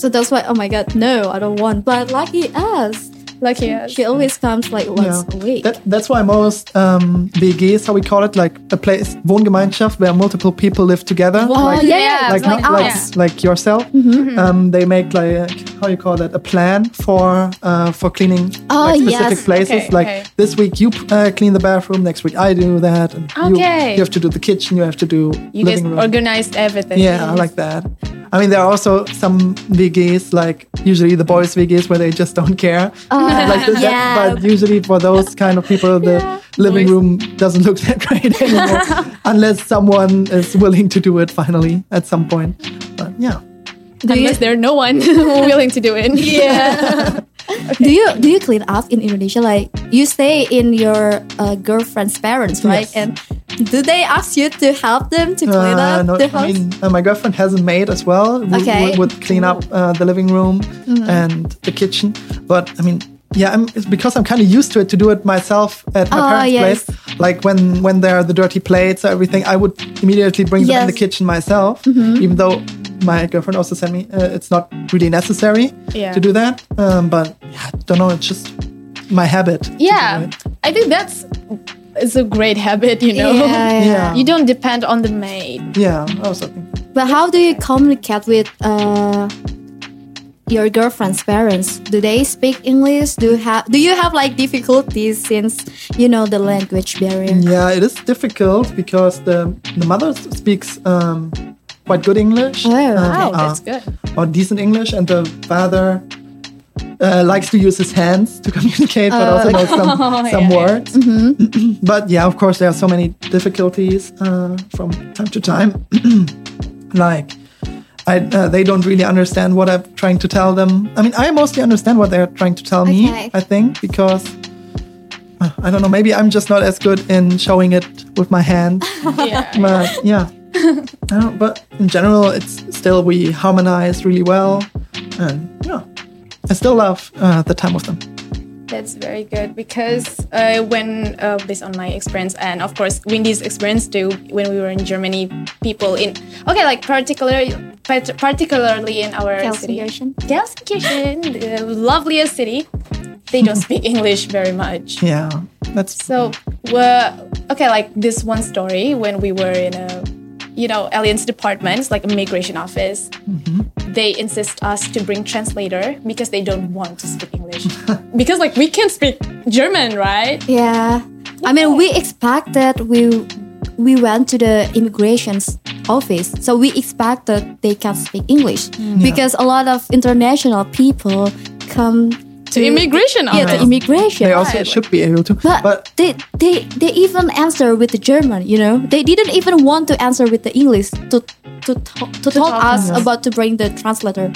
S1: So that's why. Oh my god, no, I don't want. But lucky us.
S2: Lucky us.
S1: She always comes like once a week.
S3: That, that's why most um, BGs, how we call it, like a place, Wohngemeinschaft, where multiple people live together.
S1: Wow,
S3: like,
S1: Oh, yeah,
S2: yeah,
S1: yeah,
S3: like,
S1: it's like,
S3: not, like,
S1: ours.
S3: like yourself. Um, they make like a, how you call that a plan for uh, for cleaning
S1: Oh,
S3: like specific
S1: yes.
S3: places.
S2: Okay,
S3: like
S2: okay.
S3: this week you uh, clean the bathroom, next week I do that. And you-
S2: Okay.
S3: You, have to do the kitchen. You have to do
S2: You guys
S3: living room.
S2: organized everything.
S3: yeah, I like that. I mean, there are also some VGs, like usually the boys VGs, where they just don't care.
S1: [laughs]
S3: [laughs] [laughs] like that-
S1: yeah.
S3: but usually for those kind of people, the living room doesn't look [laughs] that great anymore, unless someone is willing to do it finally at some point. But yeah,
S1: Do you,
S2: Unless there's no one [laughs] willing to do
S1: [laughs]
S2: it. Yeah.
S1: do you do you clean up in Indonesia? Like you stay in your uh, girlfriend's parents, right?
S3: Yes.
S1: And do they ask you to help them to clean
S3: Uh,
S1: up
S3: no,
S1: the
S3: I
S1: house?
S3: mean, uh, my girlfriend has a maid as well. who-
S1: Okay. Mm-hmm.
S3: who would clean up uh, the living room and the kitchen. But I mean, yeah, I'm, it's because I'm kind of used to it to do it myself at my
S1: Oh,
S3: parents'
S1: yes.
S3: place. Like when when there are the dirty plates or everything, I would immediately bring them in
S1: Yes. Mm-hmm.
S3: the kitchen myself. Even though my girlfriend also sent me, uh, it's not really necessary
S2: Yeah.
S3: to do that. Um, but yeah, I don't know. It's just my habit. to do
S2: [laughs] Yeah.
S3: it.
S2: I think that's it's a great habit, you know.
S1: yeah.
S3: Yeah.
S2: You don't depend on the maid.
S3: Yeah. I was thinking.
S1: But how do you communicate with uh, your girlfriend's parents? Do they speak English? Do you have do you have like difficulties since you know the language barrier?
S3: Yeah, it is difficult because the the mother s- speaks um, quite good English.
S1: Oh,
S3: um,
S1: wow,
S2: Oh, that's
S3: uh,
S2: good.
S3: Or decent English, and the father uh, likes to use his hands to [laughs] communicate, but also knows some, some
S2: Uh, [laughs] yeah, Mm-hmm. yeah.
S3: words. [clears throat] but yeah, of course, there are so many difficulties uh, from time to time. [clears throat] like, I, uh, they don't really understand what I'm trying to tell them. I mean, I mostly understand what they're trying to tell
S1: Okay.
S3: me, I think, because uh, I don't know, maybe I'm just not as good in showing it with my hand.
S2: Yeah.
S3: [laughs] but Uh, yeah. I don't, but in general, it's still, we harmonize really well. And yeah, I still love uh, the time with them.
S2: That's very good because uh, when, uh, based on my experience and of course Wendy's experience too, when we were in Germany, people in okay, like particularly part- particularly in our city,
S1: Calcification?
S2: Gelsenkirchen, the loveliest city, they
S3: [laughs]
S2: don't speak English very much.
S3: Yeah, that's
S2: So, we're, okay, like this one story when we were in a, you know, aliens department, it's like a migration office.
S3: Mm-hmm.
S2: They insist us to bring translator because they don't want to
S3: [laughs]
S2: speak English because like we can speak German, right?
S1: Yeah. I mean, we expected we we went to the immigration's office, so we expected they can speak English because a lot of international people come to,
S2: To immigration
S1: Yeah,
S2: office.
S1: to immigration.
S3: they also
S2: right,
S3: should be able to.
S1: but,
S3: but
S1: they, they they even answer with the German, you know. They didn't even want to answer with the English to to talk, to, talk
S2: talk,
S1: us
S2: yes.
S1: about to bring the translator.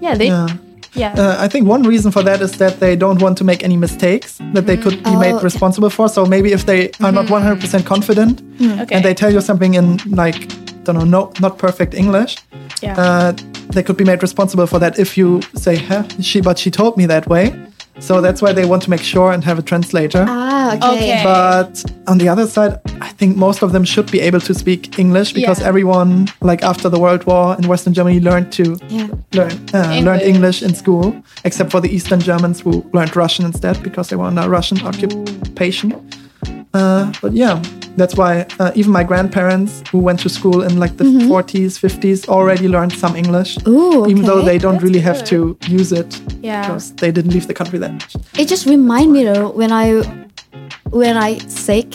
S2: yeah, they yeah.
S3: yeah. Uh, I think one reason for that is that they don't want to make any mistakes that they could
S1: Oh,
S3: be
S1: Mm-hmm.
S3: made
S1: okay.
S3: responsible for. So maybe if they are not 100% confident
S1: Mm.
S2: okay.
S3: and they tell you something in like, don't know, no, not perfect English,
S2: yeah.
S3: uh, they could be made responsible for that if you say, huh, she, but she told me that way. So that's why they want to make sure and have a translator.
S1: Ah,
S2: Okay.
S3: But on the other side, I think most of them should be able to speak English because
S2: Yeah.
S3: everyone, like after the World War in Western Germany, learned to
S1: Yeah.
S3: learn uh, learned
S2: English,
S3: English in
S2: yeah.
S3: school, except for the Eastern Germans who learned Russian instead because they were under Russian occupation. Uh, but yeah, that's why uh, even my grandparents who went to school in like the 40s, 50s already learned some English,
S1: Ooh,
S3: even though
S1: okay.
S3: they don't
S2: That's
S3: really have to use it
S2: Yeah.
S3: because they didn't leave the country that much.
S1: It just remind me though when I when I sick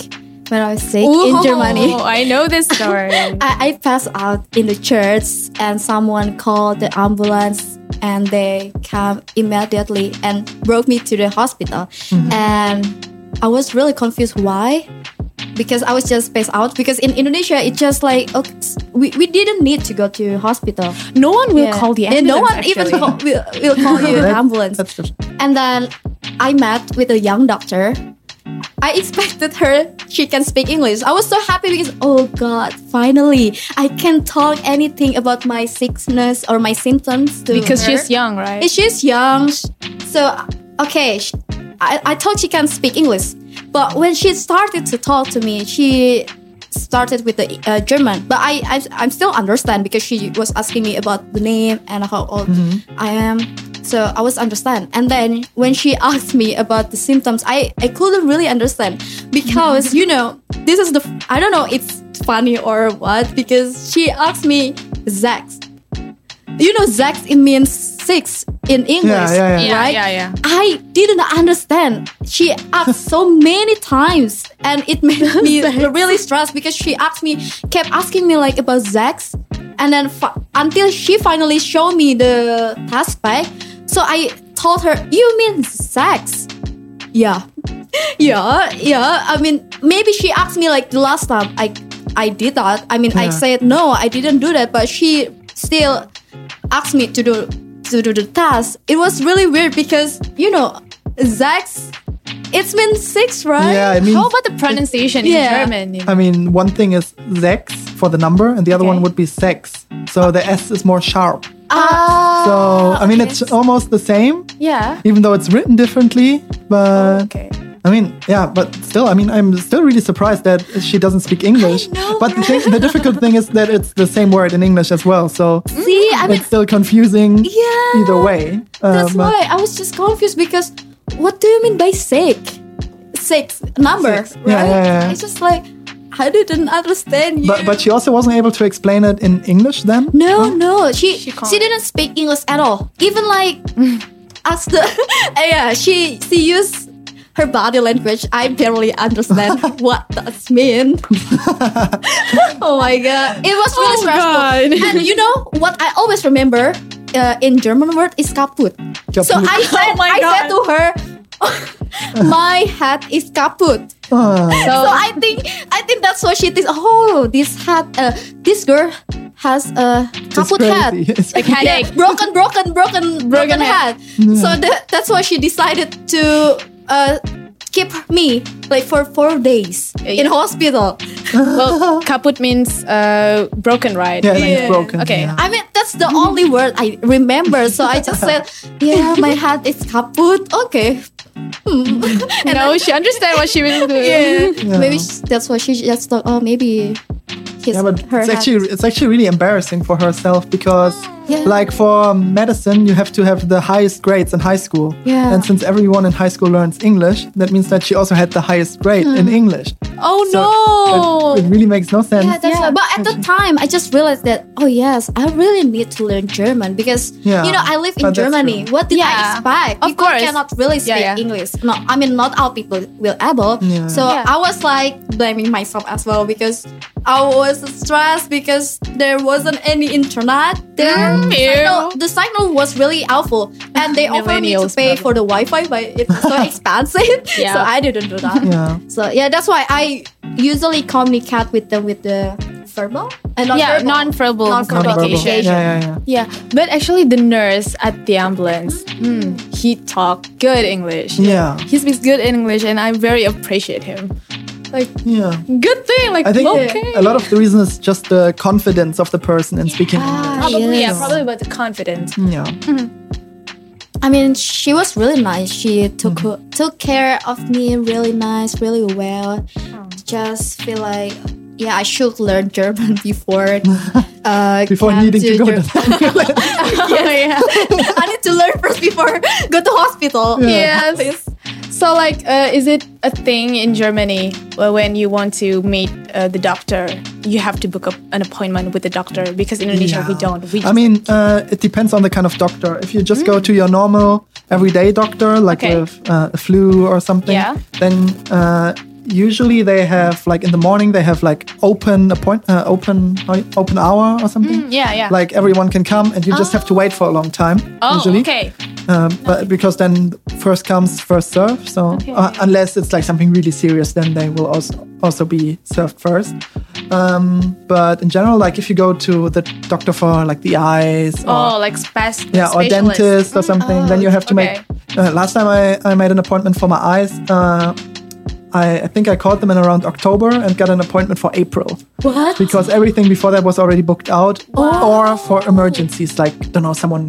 S1: when I was sick in Germany.
S2: Oh, I know this story.
S1: I, I passed out in the church and someone called the ambulance and they come immediately and brought me to the hospital
S2: Mm-hmm.
S1: and I was really confused why because I was just spaced out because in Indonesia it's just like okay, s- we, we didn't need to go to hospital
S2: [laughs] no one will
S1: Yeah.
S2: call the
S1: Yeah,
S2: ambulance.
S1: no one even
S2: actually.
S1: call, will, will
S2: [laughs]
S1: call you an
S3: That-
S1: ambulance
S3: That's just
S1: and then I met with a young doctor. I expected her, she can speak English. I was so happy because, oh God, finally, I can talk anything about my sickness or my symptoms to
S2: because
S1: her.
S2: she's young, right?
S1: Yeah, She's young. So, okay, sh I, I thought she can speak English. But when she started to talk to me, she started with the uh, German. But I, I, I'm still understand because she was asking me about the name and how old I am. So I was understand. And then when she [laughs] asked me about the symptoms, I, I couldn't really understand because you know this is the I don't know it's funny or what because she asked me Zax. You know Zax it means six in English,
S3: yeah, yeah.
S1: right?
S4: yeah, yeah.
S1: I didn't understand. She asked so many times, and it made me really stressed because she asked me, kept asking me like about Zax, and then fi- until she finally showed me the task pack. So I told her, "You mean Zax? Yeah, yeah, yeah. I mean, maybe she asked me like the last time I, I did that. I mean, I
S3: Yeah.
S1: said no, I didn't do that, but she still asked me to do to do the task. It was really weird because you know, Zach's it's been six, right?
S3: Yeah, I mean,
S4: How about the pronunciation
S1: Yeah.
S4: in German?
S3: I mean, one thing is sex for the number, and the other one
S4: Okay.
S3: would be sex. So the S is more sharp.
S1: Ah,
S3: So I mean, it's almost the same,
S4: yeah.
S3: even though it's written differently.
S1: Oh,
S3: But
S2: Okay.
S3: I mean, yeah, but still, I mean, I'm still really surprised that she doesn't speak English.
S1: know,
S3: but the, thing, the difficult thing is that it's the same word in English as well. So
S1: see, I mean,
S3: it's still confusing
S1: yeah.
S3: either way.
S1: That's
S3: Um,
S1: why I was just confused because what do you mean by sick? Six number,
S3: Six.
S1: right?
S3: Yeah, yeah, yeah.
S1: It's just like I didn't understand you.
S3: But, but she also wasn't able to explain it in English then.
S1: No, no, she she,
S4: can't.
S1: didn't speak English at all. Even like [laughs] as the [laughs] yeah, she she used her body language. I barely
S4: [laughs]
S1: understand what that mean. oh my god, it was really
S4: Oh
S1: stressful.
S4: God.
S1: And you know what I always remember uh, in German word is kaput. So
S3: Kaput.
S1: I
S4: [laughs]
S1: said,
S4: Oh my
S1: I
S4: God.
S1: said to her, [laughs] my hat is kaput.
S3: Ah,
S1: So I think I think that's what she thinks. Oh, this hat, uh, this girl has a
S3: it's
S1: kaput
S3: crazy.
S1: hat.
S3: [laughs] It's
S4: Like headache.
S1: Yeah, broken, broken, broken, broken hat. So that, that's why she decided to uh, keep me like for four days in hospital.
S4: well, kaput means uh, broken, right?
S3: yeah,
S4: Like-
S3: it's broken.
S4: Okay.
S3: yeah.
S1: I mean, that's the only word I remember. So I just said, "Yeah, my hat is kaput." Okay. Hmm. and
S4: No,
S1: I-
S4: she understand what she was doing.
S1: yeah.
S3: Yeah.
S1: Maybe she, that's why she just thought, "Oh, maybe." His,
S3: Yeah, but
S1: her
S3: it's
S1: hat
S3: actually it's actually really embarrassing for herself because,
S1: Yeah.
S3: like for medicine, you have to have the highest grades in high school.
S1: Yeah.
S3: And since everyone in high school learns English, that means that she also had the highest grade in English.
S4: Oh
S3: So
S4: no!
S3: It, it really makes no sense.
S1: Mm. Yeah, that's why. But at the time, I just realized that oh yes, I really need to learn German because
S3: Yeah,
S1: you know I live in
S3: but that's
S1: Germany.
S3: true.
S1: What did I
S4: Yeah,
S1: expect?
S4: of
S1: people
S4: course.
S1: cannot really speak
S4: Yeah, yeah.
S1: English. No, I mean not all people will able.
S3: Yeah.
S1: So
S4: Yeah.
S1: I was like blaming myself as well because I was stressed because there wasn't any internet there.
S4: Mm.
S1: Signal-
S4: Ew.
S1: the signal was really awful, and
S4: [laughs]
S1: they offered me to
S4: Millennials
S1: pay
S4: problem.
S1: for the Wi-Fi, but it's
S4: [laughs]
S1: so expensive.
S4: Yeah.
S1: [laughs] So I didn't do that.
S3: Yeah.
S1: So yeah, that's why I usually communicate with them with the verbal and not
S4: yeah,
S1: verbal.
S4: non-verbal,
S1: Non-verbal.
S3: Nonverbal.
S4: communication.
S3: Yeah, yeah, yeah.
S4: Yeah, but actually, the nurse at the ambulance, hmm, he talked good English.
S3: Yeah.
S4: he speaks good English, and I very appreciate him. Like,
S3: Yeah.
S4: good thing. Like,
S3: I think
S4: okay.
S3: a lot of the reason is just the confidence of the person in speaking
S1: Ah,
S3: English.
S4: probably,
S1: yes.
S4: yeah, probably about the
S3: [laughs]
S4: confidence. [laughs]
S3: Yeah.
S1: Mm. I mean, she was really nice. She took
S3: Mm.
S1: took care of me really nice, really well.
S3: Oh.
S1: Just feel like yeah, I should learn German [laughs] before uh,
S3: [laughs] Before
S1: come
S3: needing to go.
S1: Ger-
S3: To
S4: Oh, yeah.
S1: [laughs] I need to learn first before [laughs] go to hospital.
S4: yes. So, like, uh, is it a thing in Germany where when you want to meet uh, the doctor, you have to book up an appointment with the doctor? Because in Indonesia, we don't. We
S3: I
S4: just- Mm.
S3: mean, uh, it depends on the kind of doctor. If you just go to your normal everyday doctor, like
S4: Okay.
S3: a, f- uh, a flu or something,
S4: Yeah.
S3: then uh, usually they have like in the morning they have like open appoint, uh, open how you- open hour or
S4: Mm,
S3: something.
S4: yeah, yeah.
S3: Like everyone can come, and you just have to wait for a long time.
S4: oh,
S3: usually.
S4: okay.
S3: Um, but because then first comes first serve. So uh, unless it's like something really serious, then they will also also be served first. Um, but in general, like if you go to the doctor for like the eyes,
S4: Oh,
S3: or,
S4: like spas-
S3: yeah, or
S4: specialist. Mm, oh,
S3: dentist or something, then you have to
S4: okay.
S3: make. Uh, last time I, I made an appointment for my eyes. Uh, I, I think I called them in around October and got an appointment for April
S1: What?
S3: because everything before that was already booked out
S1: Oh.
S3: or for emergencies like don't know someone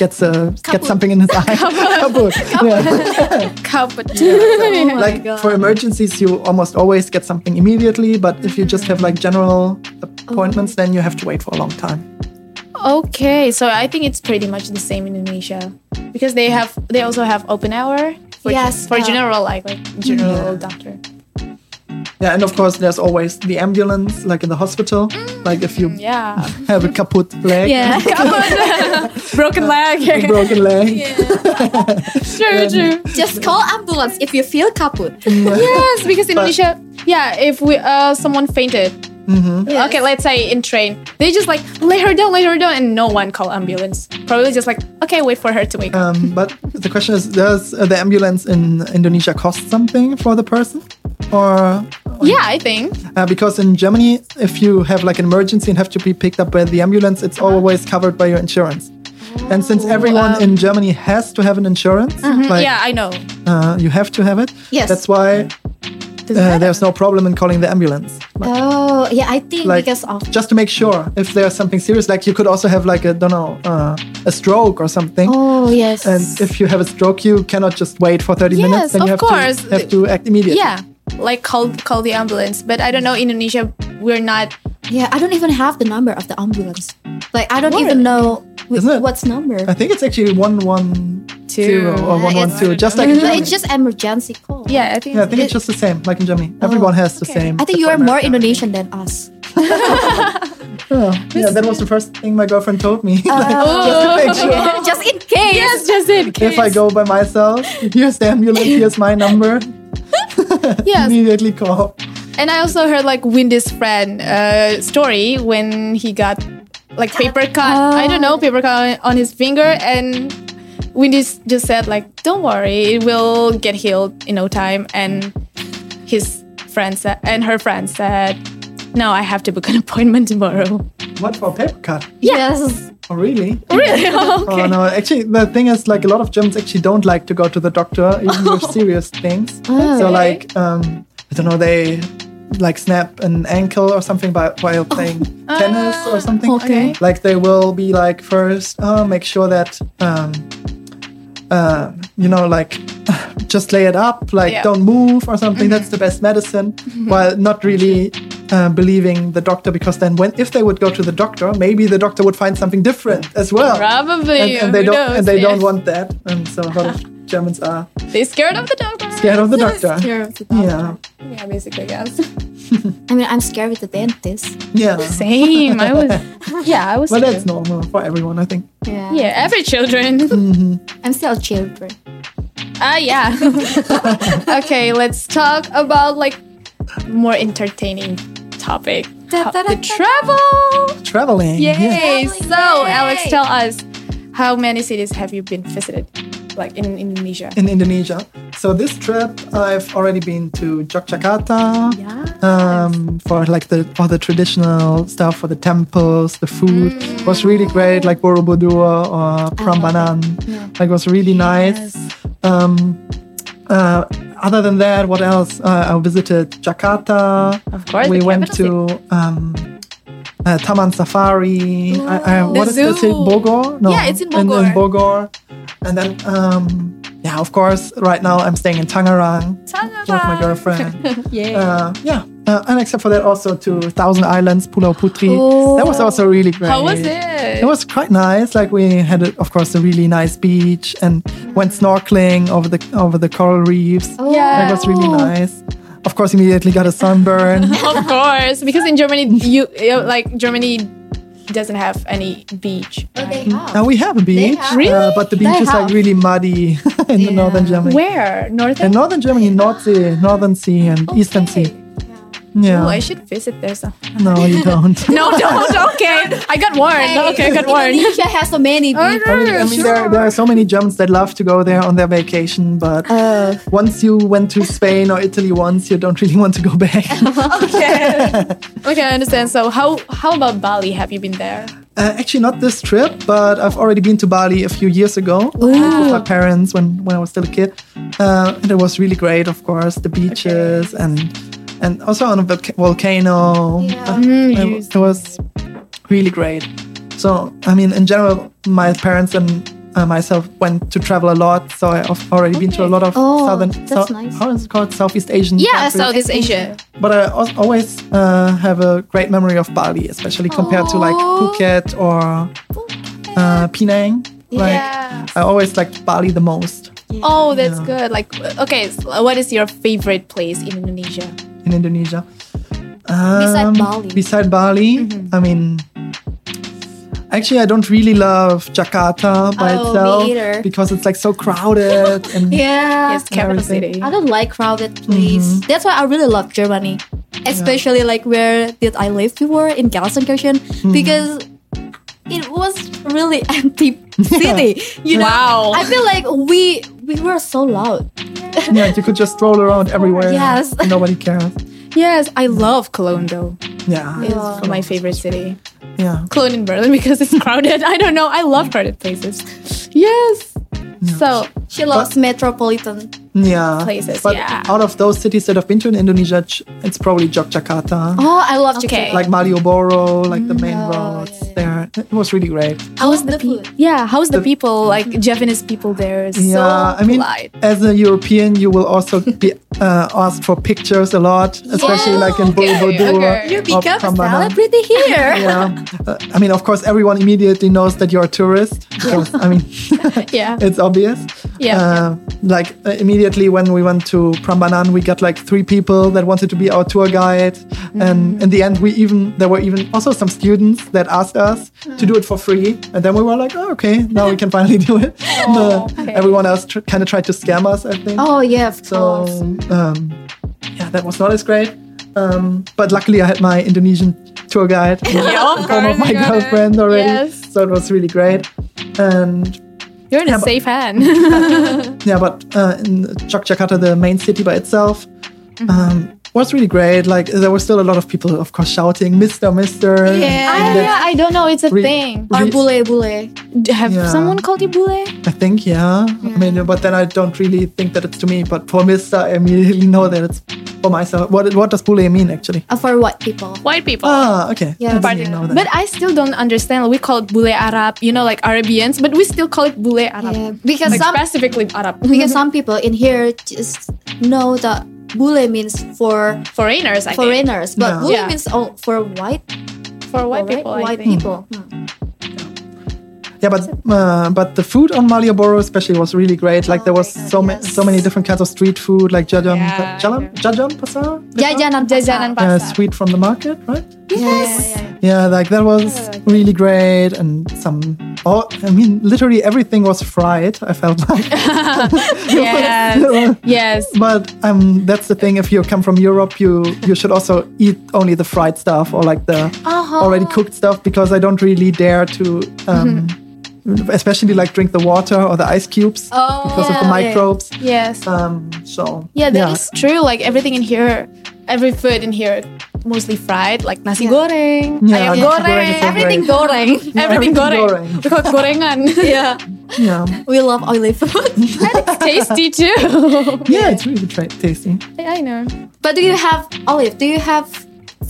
S3: gets a gets something in his
S1: [laughs]
S3: eye Kaput. Yeah. [laughs]
S4: Kaput.
S1: Oh my
S3: like
S1: God.
S3: for emergencies you almost always get something
S1: Oh.
S3: immediately but if you just have like general appointments then you have to wait for a long time
S2: Okay, so I think it's pretty much the same in Indonesia because they have they also have open hour for,
S1: Yes,
S2: for
S1: uh,
S2: general like like general doctor.
S3: Yeah, and of course there's always the ambulance, like in the hospital. Like if you [laughs]
S2: Yeah,
S3: have a kaput
S1: Mm. [laughs]
S3: leg,
S1: Yeah.
S4: [laughs]
S2: broken
S3: a
S2: leg.
S3: [laughs] broken leg.
S2: true, true.
S1: Just call ambulance if you feel
S3: [laughs]
S1: kaput.
S2: Yes, because in Indonesia, yeah, if we uh someone fainted.
S3: Mm-hmm.
S2: Okay, let's say in train, they just like lay her down, lay her down, and no one call ambulance. Probably just like okay, wait for her to wake up.
S3: Um, but the question is, does uh, the ambulance in Indonesia cost something for the person? Or
S2: Yeah, I think.
S3: uh, because in Germany, if you have like an emergency and have to be picked up by the ambulance, it's always covered by your insurance. And since everyone in Germany has to have an insurance, like
S2: Oh, Mm-hmm, yeah, I know.
S3: uh, you have to have it,
S1: Yes.
S3: that's why uh, there's no problem in calling the ambulance.
S1: Oh, yeah, I think
S3: Like
S1: because of
S3: just to make sure if there's something serious, like you could also have like a don't know uh, a stroke or something.
S1: Oh, yes.
S3: And if you have a stroke, you cannot just wait for 30 minutes.
S2: Yes,
S3: Then you have,
S2: of course.
S3: To, have to act immediately.
S2: Yeah, like call call the ambulance. But I don't know. Indonesia, we're not
S1: yeah, I don't even have the number of the ambulance. Like I don't
S2: What?
S1: even know wh-
S3: Isn't it-
S1: what's number.
S3: I think it's actually 110
S2: Two.
S3: or
S1: Yeah, it's-
S3: 112, just
S1: [laughs]
S3: like in
S1: No,
S3: Germany.
S1: it's just emergency call.
S2: Yeah, I think.
S3: yeah, I think it's just the same, like in Germany. Everyone has the same.
S1: Oh, I think
S3: that's
S1: you are
S3: why
S1: more
S3: America-
S1: Indonesian than us.
S3: Yeah, yeah, that was the first thing my girlfriend told me.
S1: Oh.
S3: Like, just to make sure.
S1: just in case.
S2: yes, just in
S3: [laughs] If I go by myself, here's the ambulance, here's
S1: [laughs]
S3: my number.
S2: Yes.
S3: Immediately call.
S2: And I also heard like Windy's friend uh, story when he got like paper cut. I don't know paper cut on, on his finger, and Windy just said like, "Don't worry, it will get healed in no time." And his friend said, and her friend said, "No, I have to book an [laughs] appointment tomorrow."
S3: What for a paper cut?
S1: Yes.
S3: Oh, [laughs] really?
S2: [laughs] Really?
S3: Oh, no. Actually, the thing is, like, a lot of Germans actually don't like to go to the doctor, even with serious things. So, like, um, I don't know, they like snap an ankle or something by, while playing tennis or something.
S1: okay.
S3: Like, they will be like, first, uh, make sure that, um, uh, you know, like, [laughs] just lay it up, like,
S2: Yeah.
S3: don't move or something. That's the best medicine. While not really. Uh, believing the doctor because then when if they would go to the doctor maybe the doctor would find something different as well
S2: Probably.
S3: and, and they
S2: who
S3: don't
S2: knows? Oh.
S3: and they
S2: Yeah.
S3: don't want that and so a lot of germans are
S2: They scared of the doctor.
S3: scared of the doctor
S1: Scared of the
S3: yeah
S2: Yeah, basically, I guess.
S1: I mean, I'm scared with the dentist.
S3: yeah
S2: Same. I
S3: [laughs]
S2: was. Yeah, I was.
S3: well
S2: scared.
S3: that's normal for everyone i think
S1: Yeah.
S2: Yeah, every
S3: [laughs]
S2: children.
S1: I'm still children.
S2: Ah, yeah. [laughs] okay, let's talk about like more entertaining topic.
S1: Da,
S2: How-
S1: da, da,
S2: the
S1: da,
S2: travel.
S3: traveling yeah
S2: Yay!
S1: Traveling,
S2: So, Alex,
S1: yay.
S2: tell us how many cities have you been visited, like in Indonesia?
S3: in indonesia so this trip i've already been to yogyakarta
S2: Yeah.
S3: um, for like the all the traditional stuff for the temples, the food
S2: Mm.
S3: was really great, like Borobudur or
S2: Uh-huh.
S3: Prambanan. Like was really nice. Um, uh, other than that, what else? Uh, I visited Jakarta.
S2: Of course,
S3: we
S2: the
S3: went
S2: capital
S3: to um, uh, Taman Safari. I, I, what is the city?
S2: Oh, zoo.
S3: Bogor? No,
S2: Yeah, it's in
S3: In,
S2: Bogor.
S3: Bogor. And then, um, yeah, of course. Right now, I'm staying in Tangerang with my girlfriend.
S2: [laughs] Yeah.
S3: Uh, yeah. Uh, and except for that, also to Thousand Islands, Pulau Putri.
S1: Oh.
S3: That was also really great.
S2: How was it?
S3: It was quite nice. Like we had, of course, a really nice beach and went snorkeling over the over the coral reefs.
S1: Oh.
S2: Yeah.
S3: That was really nice. Of course, immediately got a sunburn.
S2: [laughs] [laughs] of course, because in Germany, you uh, like Germany doesn't have any beach.
S1: Oh, they
S3: now
S1: have.
S3: we have a beach,
S1: have-
S3: uh, but the beach
S1: They
S3: is like
S1: have.
S3: really muddy [laughs] in the northern Germany.
S2: Where?
S3: In
S2: Northern.
S3: northern Germany, North Sea, Northern Sea, and Eastern
S2: Okay.
S3: Sea. Yeah.
S2: Oh, I should visit there. Some.
S3: no,
S2: [laughs]
S3: you don't.
S2: No, don't.
S3: [laughs]
S2: Okay, I got warned. Okay, I
S1: [laughs]
S2: got warned.
S1: Indonesia has so
S3: Oh,
S1: many. beaches.
S3: I mean, I mean there, there are so many Germans that love to go there on their vacation, but
S1: Oh.
S3: once you went to Spain or Italy once, you don't really [laughs] want to go back. uh, [laughs]
S2: Okay, I understand. So how how about Bali? Have you been there?
S3: Uh, actually, not this trip, but I've already been to Bali a few years ago with my parents when, when I was still a kid. Uh, and it was really great, of course, the beaches and and also on a volca- volcano.
S1: Yeah.
S3: Uh, it, it was really great. So, I mean, in general, my parents and uh, myself went to travel a lot. So I've already been to a lot of
S1: Oh,
S3: southern.
S1: that's nice.
S3: How is it called? Southeast Asian.
S2: Yeah,
S3: countries.
S2: Southeast Asia.
S3: But I al- always uh, have a great memory of Bali, especially compared to like
S1: Aw.
S3: Phuket or uh, Penang. Like
S2: Yeah.
S3: I always liked Bali the most
S2: Oh, that's
S3: Yeah.
S2: good. Like, okay, so what is your favorite place in Indonesia?
S3: in Indonesia.
S1: Beside
S3: Um,
S1: Bali. Mm-hmm.
S3: Beside Bali, I mean, actually, I don't really love Jakarta by
S1: Oh, me
S3: itself
S1: either.
S3: because it's like so
S1: [laughs]
S3: crowded and
S1: yeah.
S2: Yes, capital
S3: Everything.
S2: city.
S1: I don't like crowded place.
S3: Mm-hmm.
S1: That's why I really love Germany, especially like where did I live before in Gelsenkirchen
S3: Mm-hmm.
S1: because it was really [laughs]
S3: [laughs]
S1: empty city. You know,
S2: Wow.
S1: I feel like we we were so loud.
S3: yeah, you could just stroll around everywhere.
S1: Yes.
S3: and nobody cares.
S2: Yes, I love Cologne though.
S3: Yeah,
S2: It's
S1: Yeah.
S2: my favorite city.
S3: yeah.
S2: Cologne in Berlin [laughs] because it's crowded. I don't know. I love crowded places. Yes. So
S1: She loves metropolitan.
S3: Yeah.
S2: Places,
S3: But
S2: yeah.
S3: out of those cities that I've been to in Indonesia, j- it's probably Yogyakarta.
S1: Oh, I love
S2: Okay.
S1: Jakarta.
S3: Like Malioboro, like the main roads
S1: yeah,
S3: there. It was really great.
S1: How's the
S2: pe-
S1: food?
S2: yeah, how's the,
S3: The-
S2: people? Like Japanese people there is so
S3: Yeah, I mean,
S2: polite.
S3: as a European, you will also
S2: [laughs]
S3: be uh, asked for pictures a lot, especially like in
S2: okay,
S3: Borobudur.
S2: okay.
S1: You
S3: of
S1: become a
S3: Prambanan.
S1: celebrity
S3: [laughs]
S1: here.
S3: Oh,
S2: [laughs]
S3: Yeah, Uh, I mean, of course, everyone immediately knows that you're a tourist. because, I mean,
S2: Yeah.
S3: it's obvious.
S2: Yeah.
S3: Uh, like uh, immediately when we went to Prambanan, we got like three people that wanted to be our tour guide,
S2: Mm-hmm.
S3: and in the end, we even there were even also some students that asked us to do it for free, and then we were like, oh, okay, now we can finally [laughs] do
S2: [laughs]
S3: it.
S2: Oh,
S3: No, Everyone else tr- kind of tried to scam us, I think.
S1: Oh yeah, of
S3: So
S1: course.
S3: um, yeah, that was not as great. Um, but luckily, I had my Indonesian tour guide
S2: [laughs] Yeah, of
S3: form
S2: course,
S3: of my
S2: you got it.
S3: girlfriend already,
S2: Yes.
S3: so it was really great. And
S2: You're in
S3: Yeah,
S2: a
S3: but-
S2: safe hand. [laughs]
S3: yeah, but uh, in Jak- Jakarta, the main city by itself, um, was really great. Like there were still a lot of people, of course, shouting "Mister, Mister."
S1: Yeah.
S2: Ah, yeah, I don't know. It's a
S3: Re-
S2: thing.
S1: Or
S3: Re-
S1: bule bule.
S2: D- Have
S3: Yeah.
S2: someone called you bule?
S3: I think, yeah. I mean, but then I don't really think that it's to me. But for Mister, I immediately know that it's for myself. What what does "bule" mean actually?
S1: Uh, for white people.
S2: White people.
S3: Ah, okay.
S1: Yeah,
S3: I didn't
S1: but-
S3: even know that.
S2: but I still don't understand. We call it bule Arab, you know, like Arabians, but we still call it bule
S1: Yeah,
S2: Arab.
S1: Mm-hmm. because
S2: Like
S1: some
S2: specifically Arab.
S3: Mm-hmm.
S1: because some people in here just know that bule means for
S2: foreigners, I think.
S1: foreigners, but
S3: Yeah.
S1: bule
S2: Yeah.
S1: means all for white
S2: For white
S1: right?
S2: people, I
S1: white
S2: think.
S1: people. Hmm.
S3: Yeah, but uh, but the food on Malioboro especially was really great. Like there was
S1: my God,
S3: so ma-
S1: yes.
S3: so many different kinds of street food, like jajam,
S2: Yeah,
S3: jalam, jajam pasar,
S1: Jajanan
S2: Jajanan
S1: pasar.
S3: uh,
S2: pasar.
S3: sweet from the market, right?
S1: Yes.
S3: Yeah, like that was really great, and some. Oh, I mean, literally everything was fried. I felt like, [laughs]
S2: Yes. yes.
S3: but um, that's the thing. If you come from Europe, you you should also eat only the fried stuff or like the already cooked stuff because I don't really dare to. Um, Especially like drink the water or the ice cubes
S2: Oh,
S3: because
S1: yeah,
S3: of the
S1: yeah.
S3: microbes.
S2: Yes.
S3: Um, so
S2: Yeah, that is true. Like everything in here, every food in here, mostly fried, like nasi goreng,
S3: Yeah,
S2: ayam
S3: nasi
S2: goreng,
S3: goreng is so
S2: everything
S3: great.
S2: goreng, everything
S3: everything
S2: goreng.
S3: goreng.
S2: We call it gorengan. yeah,
S3: yeah,
S1: We love oily food.
S2: tasty too.
S3: yeah, it's really tra- tasty.
S2: I know.
S1: [laughs] but do you have olive? Do you have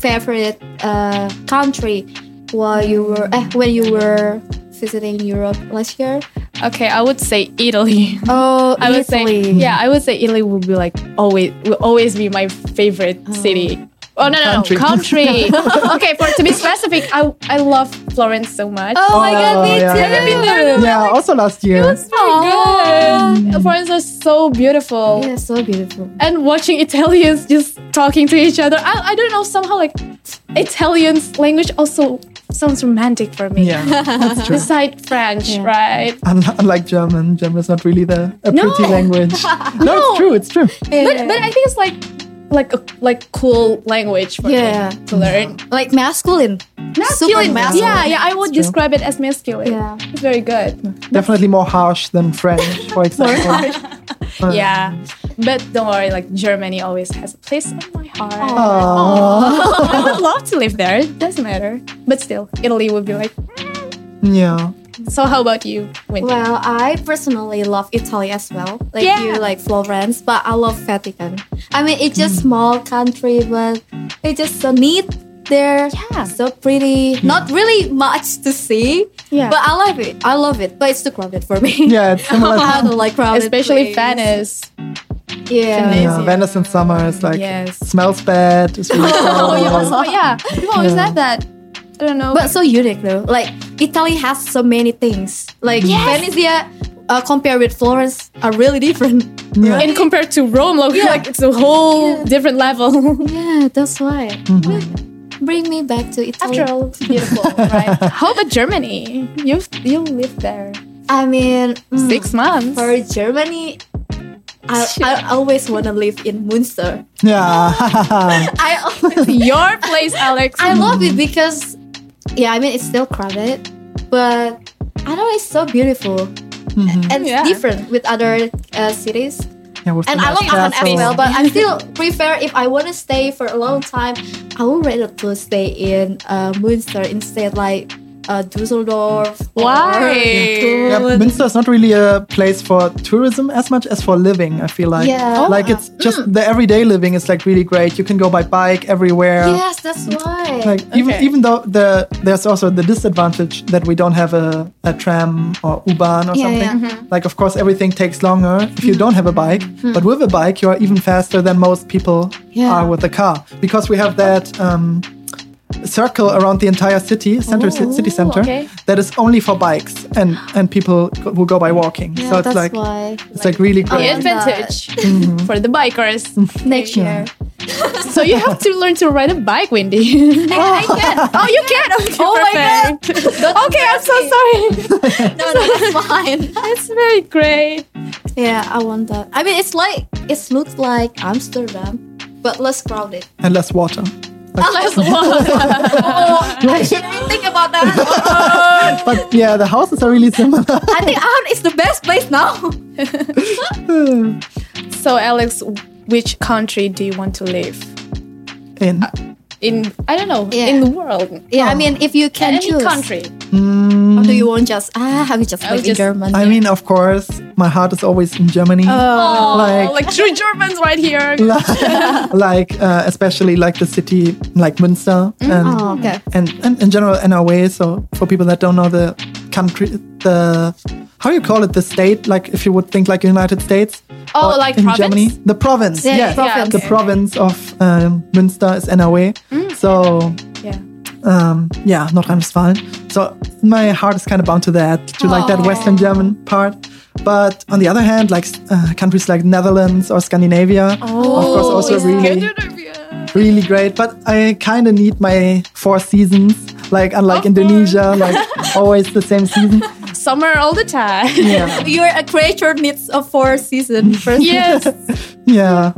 S1: favorite uh, country while you were eh, when you were visiting Europe last year?
S2: Okay, I would say Italy.
S1: Oh,
S2: I would
S1: Italy.
S2: say yeah, I would say Italy will be like always will always be my favorite city. Oh no no
S3: Country. [laughs]
S2: no country. okay, for to be specific, I I love Florence so much.
S1: Oh, my God,
S3: Oh,
S1: me
S3: yeah,
S1: too.
S3: yeah, Yeah, also last year.
S1: Aw.
S2: Good. Florence are so beautiful.
S1: Yeah, so beautiful.
S2: and watching Italians just talking to each other. I, I don't know, somehow like Italian's language also sounds romantic for me.
S3: yeah, that's true.
S2: Beside French,
S1: Yeah.
S2: right?
S3: Un- [laughs] Unlike German, German is not really the a pretty language. No, it's true. It's true.
S2: But but I think it's like like a like cool language for
S1: Yeah.
S2: me to learn.
S1: like masculine. Super masculine.
S2: Yeah, yeah, I would describe it as masculine.
S1: Yeah.
S2: It's very good.
S3: Definitely more harsh than French, for example.
S2: Yeah. But don't worry, like Germany always has a place in my heart.
S3: Oh, Aww.
S2: [laughs] I would love to live there. It doesn't matter. But still, Italy would be like "Mm,
S3: Yeah.
S2: so how about you, Winter?
S1: Well, I personally love Italy as well. Like
S2: Yeah.
S1: you like Florence, but I love Vatican. I mean, it's
S2: Mm.
S1: just small country, but it's just so neat there. Yeah, so pretty. Not really much to see.
S2: Yeah.
S1: but I love it. I love it, but it's too crowded for me.
S3: Yeah, it's
S1: [laughs]
S3: similar.
S1: I
S3: to,
S1: don't
S2: [laughs]
S1: like crowded.
S2: Especially
S1: place.
S2: Venice.
S1: [laughs]
S2: [laughs]
S1: Yeah.
S3: yeah, Venice in summer is like
S2: Yes.
S3: smells bad. It's really
S2: [laughs] Oh yeah,
S3: crowded.
S2: also, yeah. People always have that. I don't know.
S1: But so unique though. Like Italy has so many things. Like Venice, uh, compared with Florence, are really different.
S3: Yeah.
S2: And compared to Rome, like, like it's a whole different level. [laughs]
S1: Yeah, that's why. Bring me back to Italy.
S5: After all, beautiful,
S1: [laughs]
S5: right?
S2: How about Germany? You've you lived there
S1: I mean, mm,
S2: six months.
S1: for Germany, I, I always want to live in Munster.
S3: Yeah. [laughs]
S1: I [laughs] always,
S2: Your place, Alex.
S1: [laughs] I love it because, yeah, I mean, it's still crowded, but I know it's so beautiful and
S2: Yeah.
S1: it's different with other uh, cities.
S3: yeah with
S1: And
S3: the
S1: I love
S3: nice
S1: Aachen as
S3: castle.
S1: well, but
S3: [laughs]
S1: I still prefer if I want to stay for a long time, I would rather to stay in uh, Munster instead, like uh, Dusseldorf. or
S2: Why?
S3: Yeah,
S1: Cologne.
S3: Münster is not really a place for tourism as much as for living. I feel like,
S1: Yeah.
S3: like it's just the everyday living is like really great. You can go by bike everywhere.
S1: Yes, that's why.
S3: Like even
S5: Okay.
S3: even though the there's also the disadvantage that we don't have a, a tram or U-Bahn or
S1: Yeah,
S3: something.
S1: yeah.
S3: Like of course everything takes longer if you don't have a bike. But with a bike you are even faster than most people
S1: Mm-hmm. Yeah.
S3: are with a car because we have that um, circle around the entire city center ci- city center
S2: okay.
S3: that is only for bikes and and people go- who go by walking.
S1: yeah,
S3: so it's
S1: that's
S3: like
S1: why.
S3: it's like really
S2: the
S3: great.
S1: yeah.
S2: advantage
S1: Mm-hmm.
S2: for the
S1: [laughs]
S2: bikers.
S1: Next year.
S2: so you have to learn to ride a
S1: [laughs]
S2: bike, Wendy.
S1: I can.
S2: oh, you can. Okay,
S1: Oh my God.
S2: perfect. [laughs] okay, I'm so sorry.
S1: No, no,
S2: [laughs]
S1: that's fine.
S2: That's very great.
S1: Yeah, I want that. I mean, it's like it looks like Amsterdam, but less crowded.
S3: And less water.
S2: Let's
S3: [laughs]
S2: walk.
S1: I shouldn't think about that.
S3: But yeah, the houses are really similar.
S1: [laughs] I think Aachen is the best place now.
S2: So, Alex, which country do you want to live
S3: In
S2: in? I don't know.
S1: Yeah.
S2: In the world,
S1: Yeah, I mean, if you can
S2: any
S1: choose,
S2: country.
S1: Oh. or do you want just ah, have you just
S2: I
S1: live
S2: would
S1: in
S2: just-
S1: German?
S3: I mean, of course, my heart is always in Germany.
S2: Oh,
S3: Like-
S2: like, true Germans right here.
S3: [laughs] like uh, especially like the city like Münster
S2: Mm.
S3: and,
S1: oh, okay.
S3: and and in general NRW. So for people that don't know the country, the how you call it, the state. Like if you would think like United States.
S2: Oh,
S3: or
S2: like
S3: in
S2: province?
S3: Germany, the province.
S1: Yeah,
S3: Yeah,
S1: province.
S3: the
S2: okay. Mm.
S3: province of um, Münster is NRW. So
S2: Yeah.
S3: um, yeah, Nordrhein-Westfalen. So my heart is kind of bound to that, to like that Western German part. But on the other hand, like uh, countries like Netherlands or Scandinavia,
S2: Oh.
S3: of course,
S1: Oh,
S3: also really, really great. But I kind of need my four seasons, like unlike Indonesia, like always the same season.
S2: Summer all the time.
S1: [laughs]
S3: Yeah,
S1: You're a creature needs a four [laughs] season. First.
S2: [laughs] yes.
S3: yeah,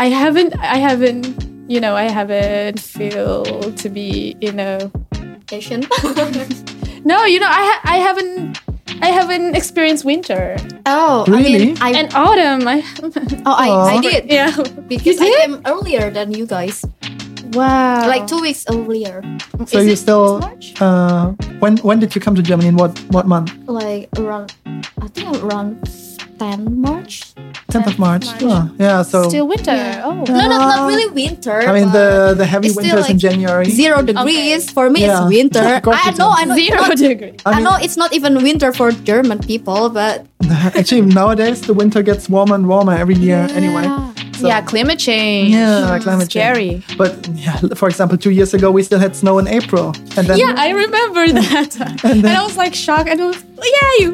S2: I haven't. I haven't. You know, I haven't feel to be in a.
S1: [laughs] Asian.
S2: No, you know, I ha- I haven't. I haven't experienced winter
S1: oh, I mean,
S3: Really?
S1: I,
S2: and autumn. I [laughs]
S1: oh, I, I
S3: Aw.
S1: did
S2: yeah.
S1: because I
S2: did?
S1: came earlier than you guys,
S2: Wow.
S1: like two weeks earlier,
S3: Oh. so
S2: Is
S3: you
S2: it
S3: still. Uh, when when did you come to Germany? In what what month?
S1: like around, I think around 10 March.
S3: Tenth of March. Oh, yeah, so
S2: still winter.
S1: Yeah.
S2: Oh.
S1: No, no, not
S3: Uh,
S1: really winter.
S3: I mean the the heavy
S1: it's still,
S3: winters in
S1: like,
S3: January.
S1: zero degrees for me it's
S3: Yeah.
S1: winter.
S3: Of course
S1: I
S3: it
S1: know,
S3: is.
S1: I know, it's
S2: Zero
S1: not-
S2: degree.
S1: I
S3: mean-
S1: know it's not even winter for German people, but
S3: [laughs] Actually, nowadays the winter gets warmer and warmer every year. Anyway, So-
S2: yeah, climate change.
S3: yeah, climate
S2: Hmm, Scary.
S3: change. But yeah, for example, two years ago we still had snow in April, and then
S2: Yeah, I remember
S3: [laughs]
S2: that. and, I was like shocked. And I was, "Oh, yeah, you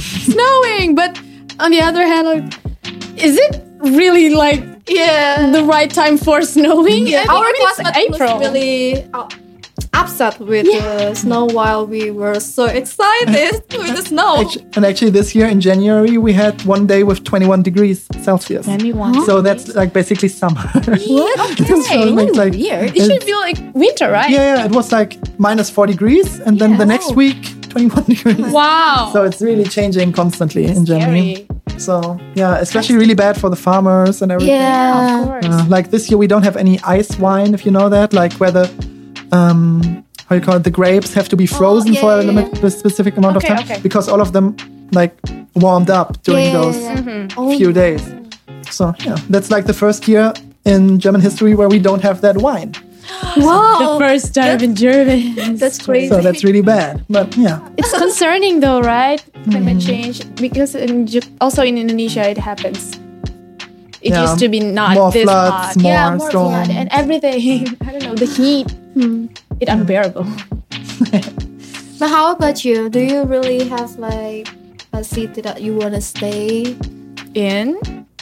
S2: snowing. But on the other hand, like, is it really like
S1: yeah.
S2: the right time for snowing? I think
S1: Our
S2: it is
S1: classmate was really uh, upset with the snow while we were so excited with the snow.
S3: Actu- and actually this year in January we had one day with 21 degrees Celsius. So that's like basically
S2: [laughs]
S3: summer. [laughs]
S1: What? Okay.
S3: So, like- like-
S1: weird.
S2: It should be like winter, right?
S3: yeah, yeah, it was like minus four degrees, and then the next week 21 degrees.
S2: Wow.
S3: So it's really changing constantly in Germany.
S2: Scary.
S3: So yeah, especially really bad for the farmers and everything.
S1: Yeah.
S2: Of course.
S3: Uh, like this year, we don't have any ice wine, if you know that. Like where the um, how you call it, the grapes have to be
S2: Oh,
S3: frozen
S1: yeah,
S3: for a
S1: yeah,
S3: limit, a specific amount
S2: Okay,
S3: of time
S2: okay.
S3: because all of them like warmed up during
S1: Yeah, yeah,
S3: those
S1: yeah. Oh,
S2: Mm-hmm.
S3: few days. So yeah, that's like the first year in German history where we don't have that wine.
S2: the
S1: wow.
S2: first time in Germany.
S1: That's crazy.
S3: So that's really bad. But yeah,
S2: It's concerning though, right?
S3: Mm.
S2: Climate change because in, Ju- also in Indonesia it happens. It
S3: Yeah.
S2: used to be not
S3: more
S2: this
S3: floods,
S2: hot.
S3: more
S2: yeah, more
S3: storms.
S2: flood [laughs] and everything. I don't know the heat. It unbearable.
S1: But how about you? Do you really have like a city that you wanna stay
S2: in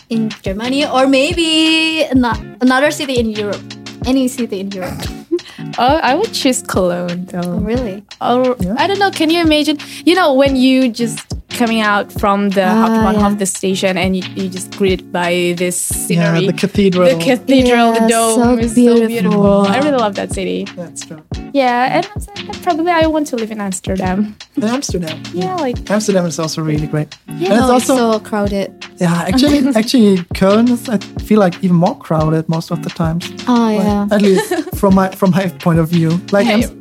S1: in Germany or maybe not, another city in Europe? Any city in Europe?
S2: oh i would choose cologne though
S1: really?
S2: or Oh, I don't know. Can you imagine? You know, when you just coming out from the
S1: Ah,
S2: Hauptbahnhof,
S1: yeah.
S2: the station, and you, you just greeted by this
S3: Yeah,
S2: scenery,
S3: the
S2: the,
S3: cathedral.
S2: cathedral,
S1: Yeah,
S2: the dome
S1: so
S2: is so
S1: beautiful.
S2: beautiful. I really love that city.
S3: That's true.
S2: Yeah, and I'm saying that probably I want to live in Amsterdam.
S3: And Amsterdam.
S2: Yeah, like
S3: Amsterdam is also really great. and it's
S1: no,
S3: also
S1: it's so crowded. [laughs]
S3: yeah, actually actually Köln is I feel like even more crowded most of the times.
S1: Oh
S3: Like,
S1: yeah.
S3: At least from my from my point of view. Like Ams-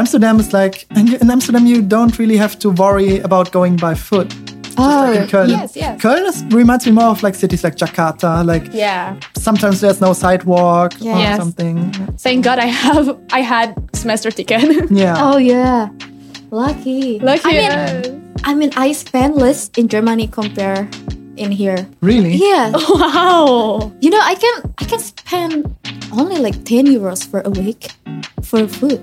S3: Amsterdam is like and you, in Amsterdam you don't really have to worry about going by foot.
S1: oh
S3: In Köln.
S2: Yes, yes.
S3: Köln is, reminds me more of like cities like Jakarta. Like
S2: yeah.
S3: sometimes there's no sidewalk or
S1: Yes.
S3: something.
S2: Thank God I have I had semester ticket. [laughs]
S3: Yeah.
S1: oh yeah. Lucky.
S2: Lucky.
S1: I mean,
S2: yes.
S1: I mean, I spend less in Germany compare in here.
S3: Really?
S1: Yeah,
S2: wow.
S1: you know, I can I can spend only like ten euros for a week for food.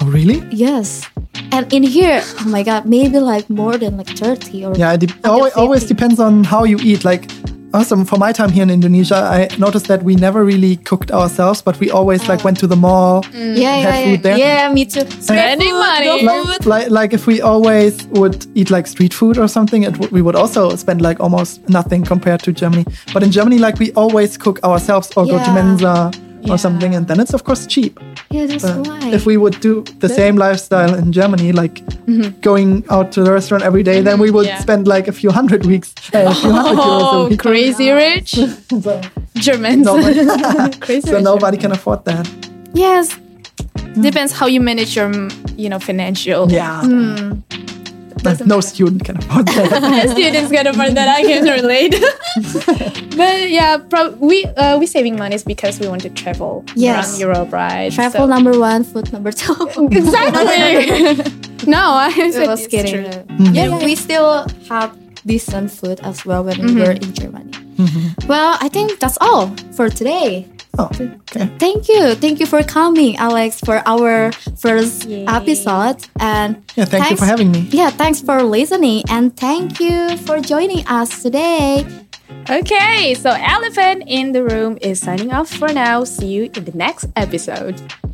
S3: Oh really?
S1: Yes, and in here, oh my god, maybe like more than like thirty or
S3: Yeah, it de- always, always
S1: fifty.
S3: depends on how you eat. Like, also for my time here in Indonesia, I noticed that we never really cooked ourselves, but we always like
S1: Oh.
S3: went to the mall.
S1: yeah,
S3: Have
S1: yeah,
S3: food
S1: yeah.
S3: there?
S1: yeah me too.
S2: Spending money.
S3: Like, like, like if we always would eat like street food or something, it w- we would also spend like almost nothing compared to Germany. But in Germany, like we always cook ourselves or go to
S1: Yeah.
S3: Mensa
S2: Yeah.
S3: or something, and then it's of course cheap.
S1: Yeah, that's
S3: Uh,
S1: why.
S3: if we would do the same lifestyle in Germany, like going out to the restaurant every day, then we would
S2: Yeah.
S3: spend like a few hundred weeks, uh, a few hundred euros a
S2: Oh, [laughs]
S3: week.
S2: crazy
S3: [laughs]
S2: rich
S3: So-
S2: Germans. [laughs]
S3: Nobody-
S2: crazy
S3: so
S2: rich
S3: nobody can afford that.
S1: yes,
S2: depends how you manage your mm, you know financial
S3: Yeah. But
S2: [laughs]
S3: no student can afford that. [laughs]
S2: students get over that i can relate [laughs] but yeah prob- we uh, we saving money is because we want to travel
S1: Yes.
S2: around europe right
S1: travel
S2: So-
S1: number one, food number
S3: [laughs]
S1: two. [laughs]
S2: [laughs] exactly [laughs] no i
S1: I
S2: said
S1: was
S2: it's
S1: kidding.
S2: true.
S3: Mm-hmm.
S1: Yeah, we still have decent food as well when we
S3: Mm-hmm.
S1: were in Germany. Well, I think that's all for today.
S3: oh, okay.
S1: Thank you. Thank you for coming, Alex, for our first episode. And
S3: Yeah, thank you
S1: thanks-
S3: for having me.
S1: Yeah, thanks for listening and thank you for joining us today.
S2: okay so elephant in the room is signing off for now see you in the next episode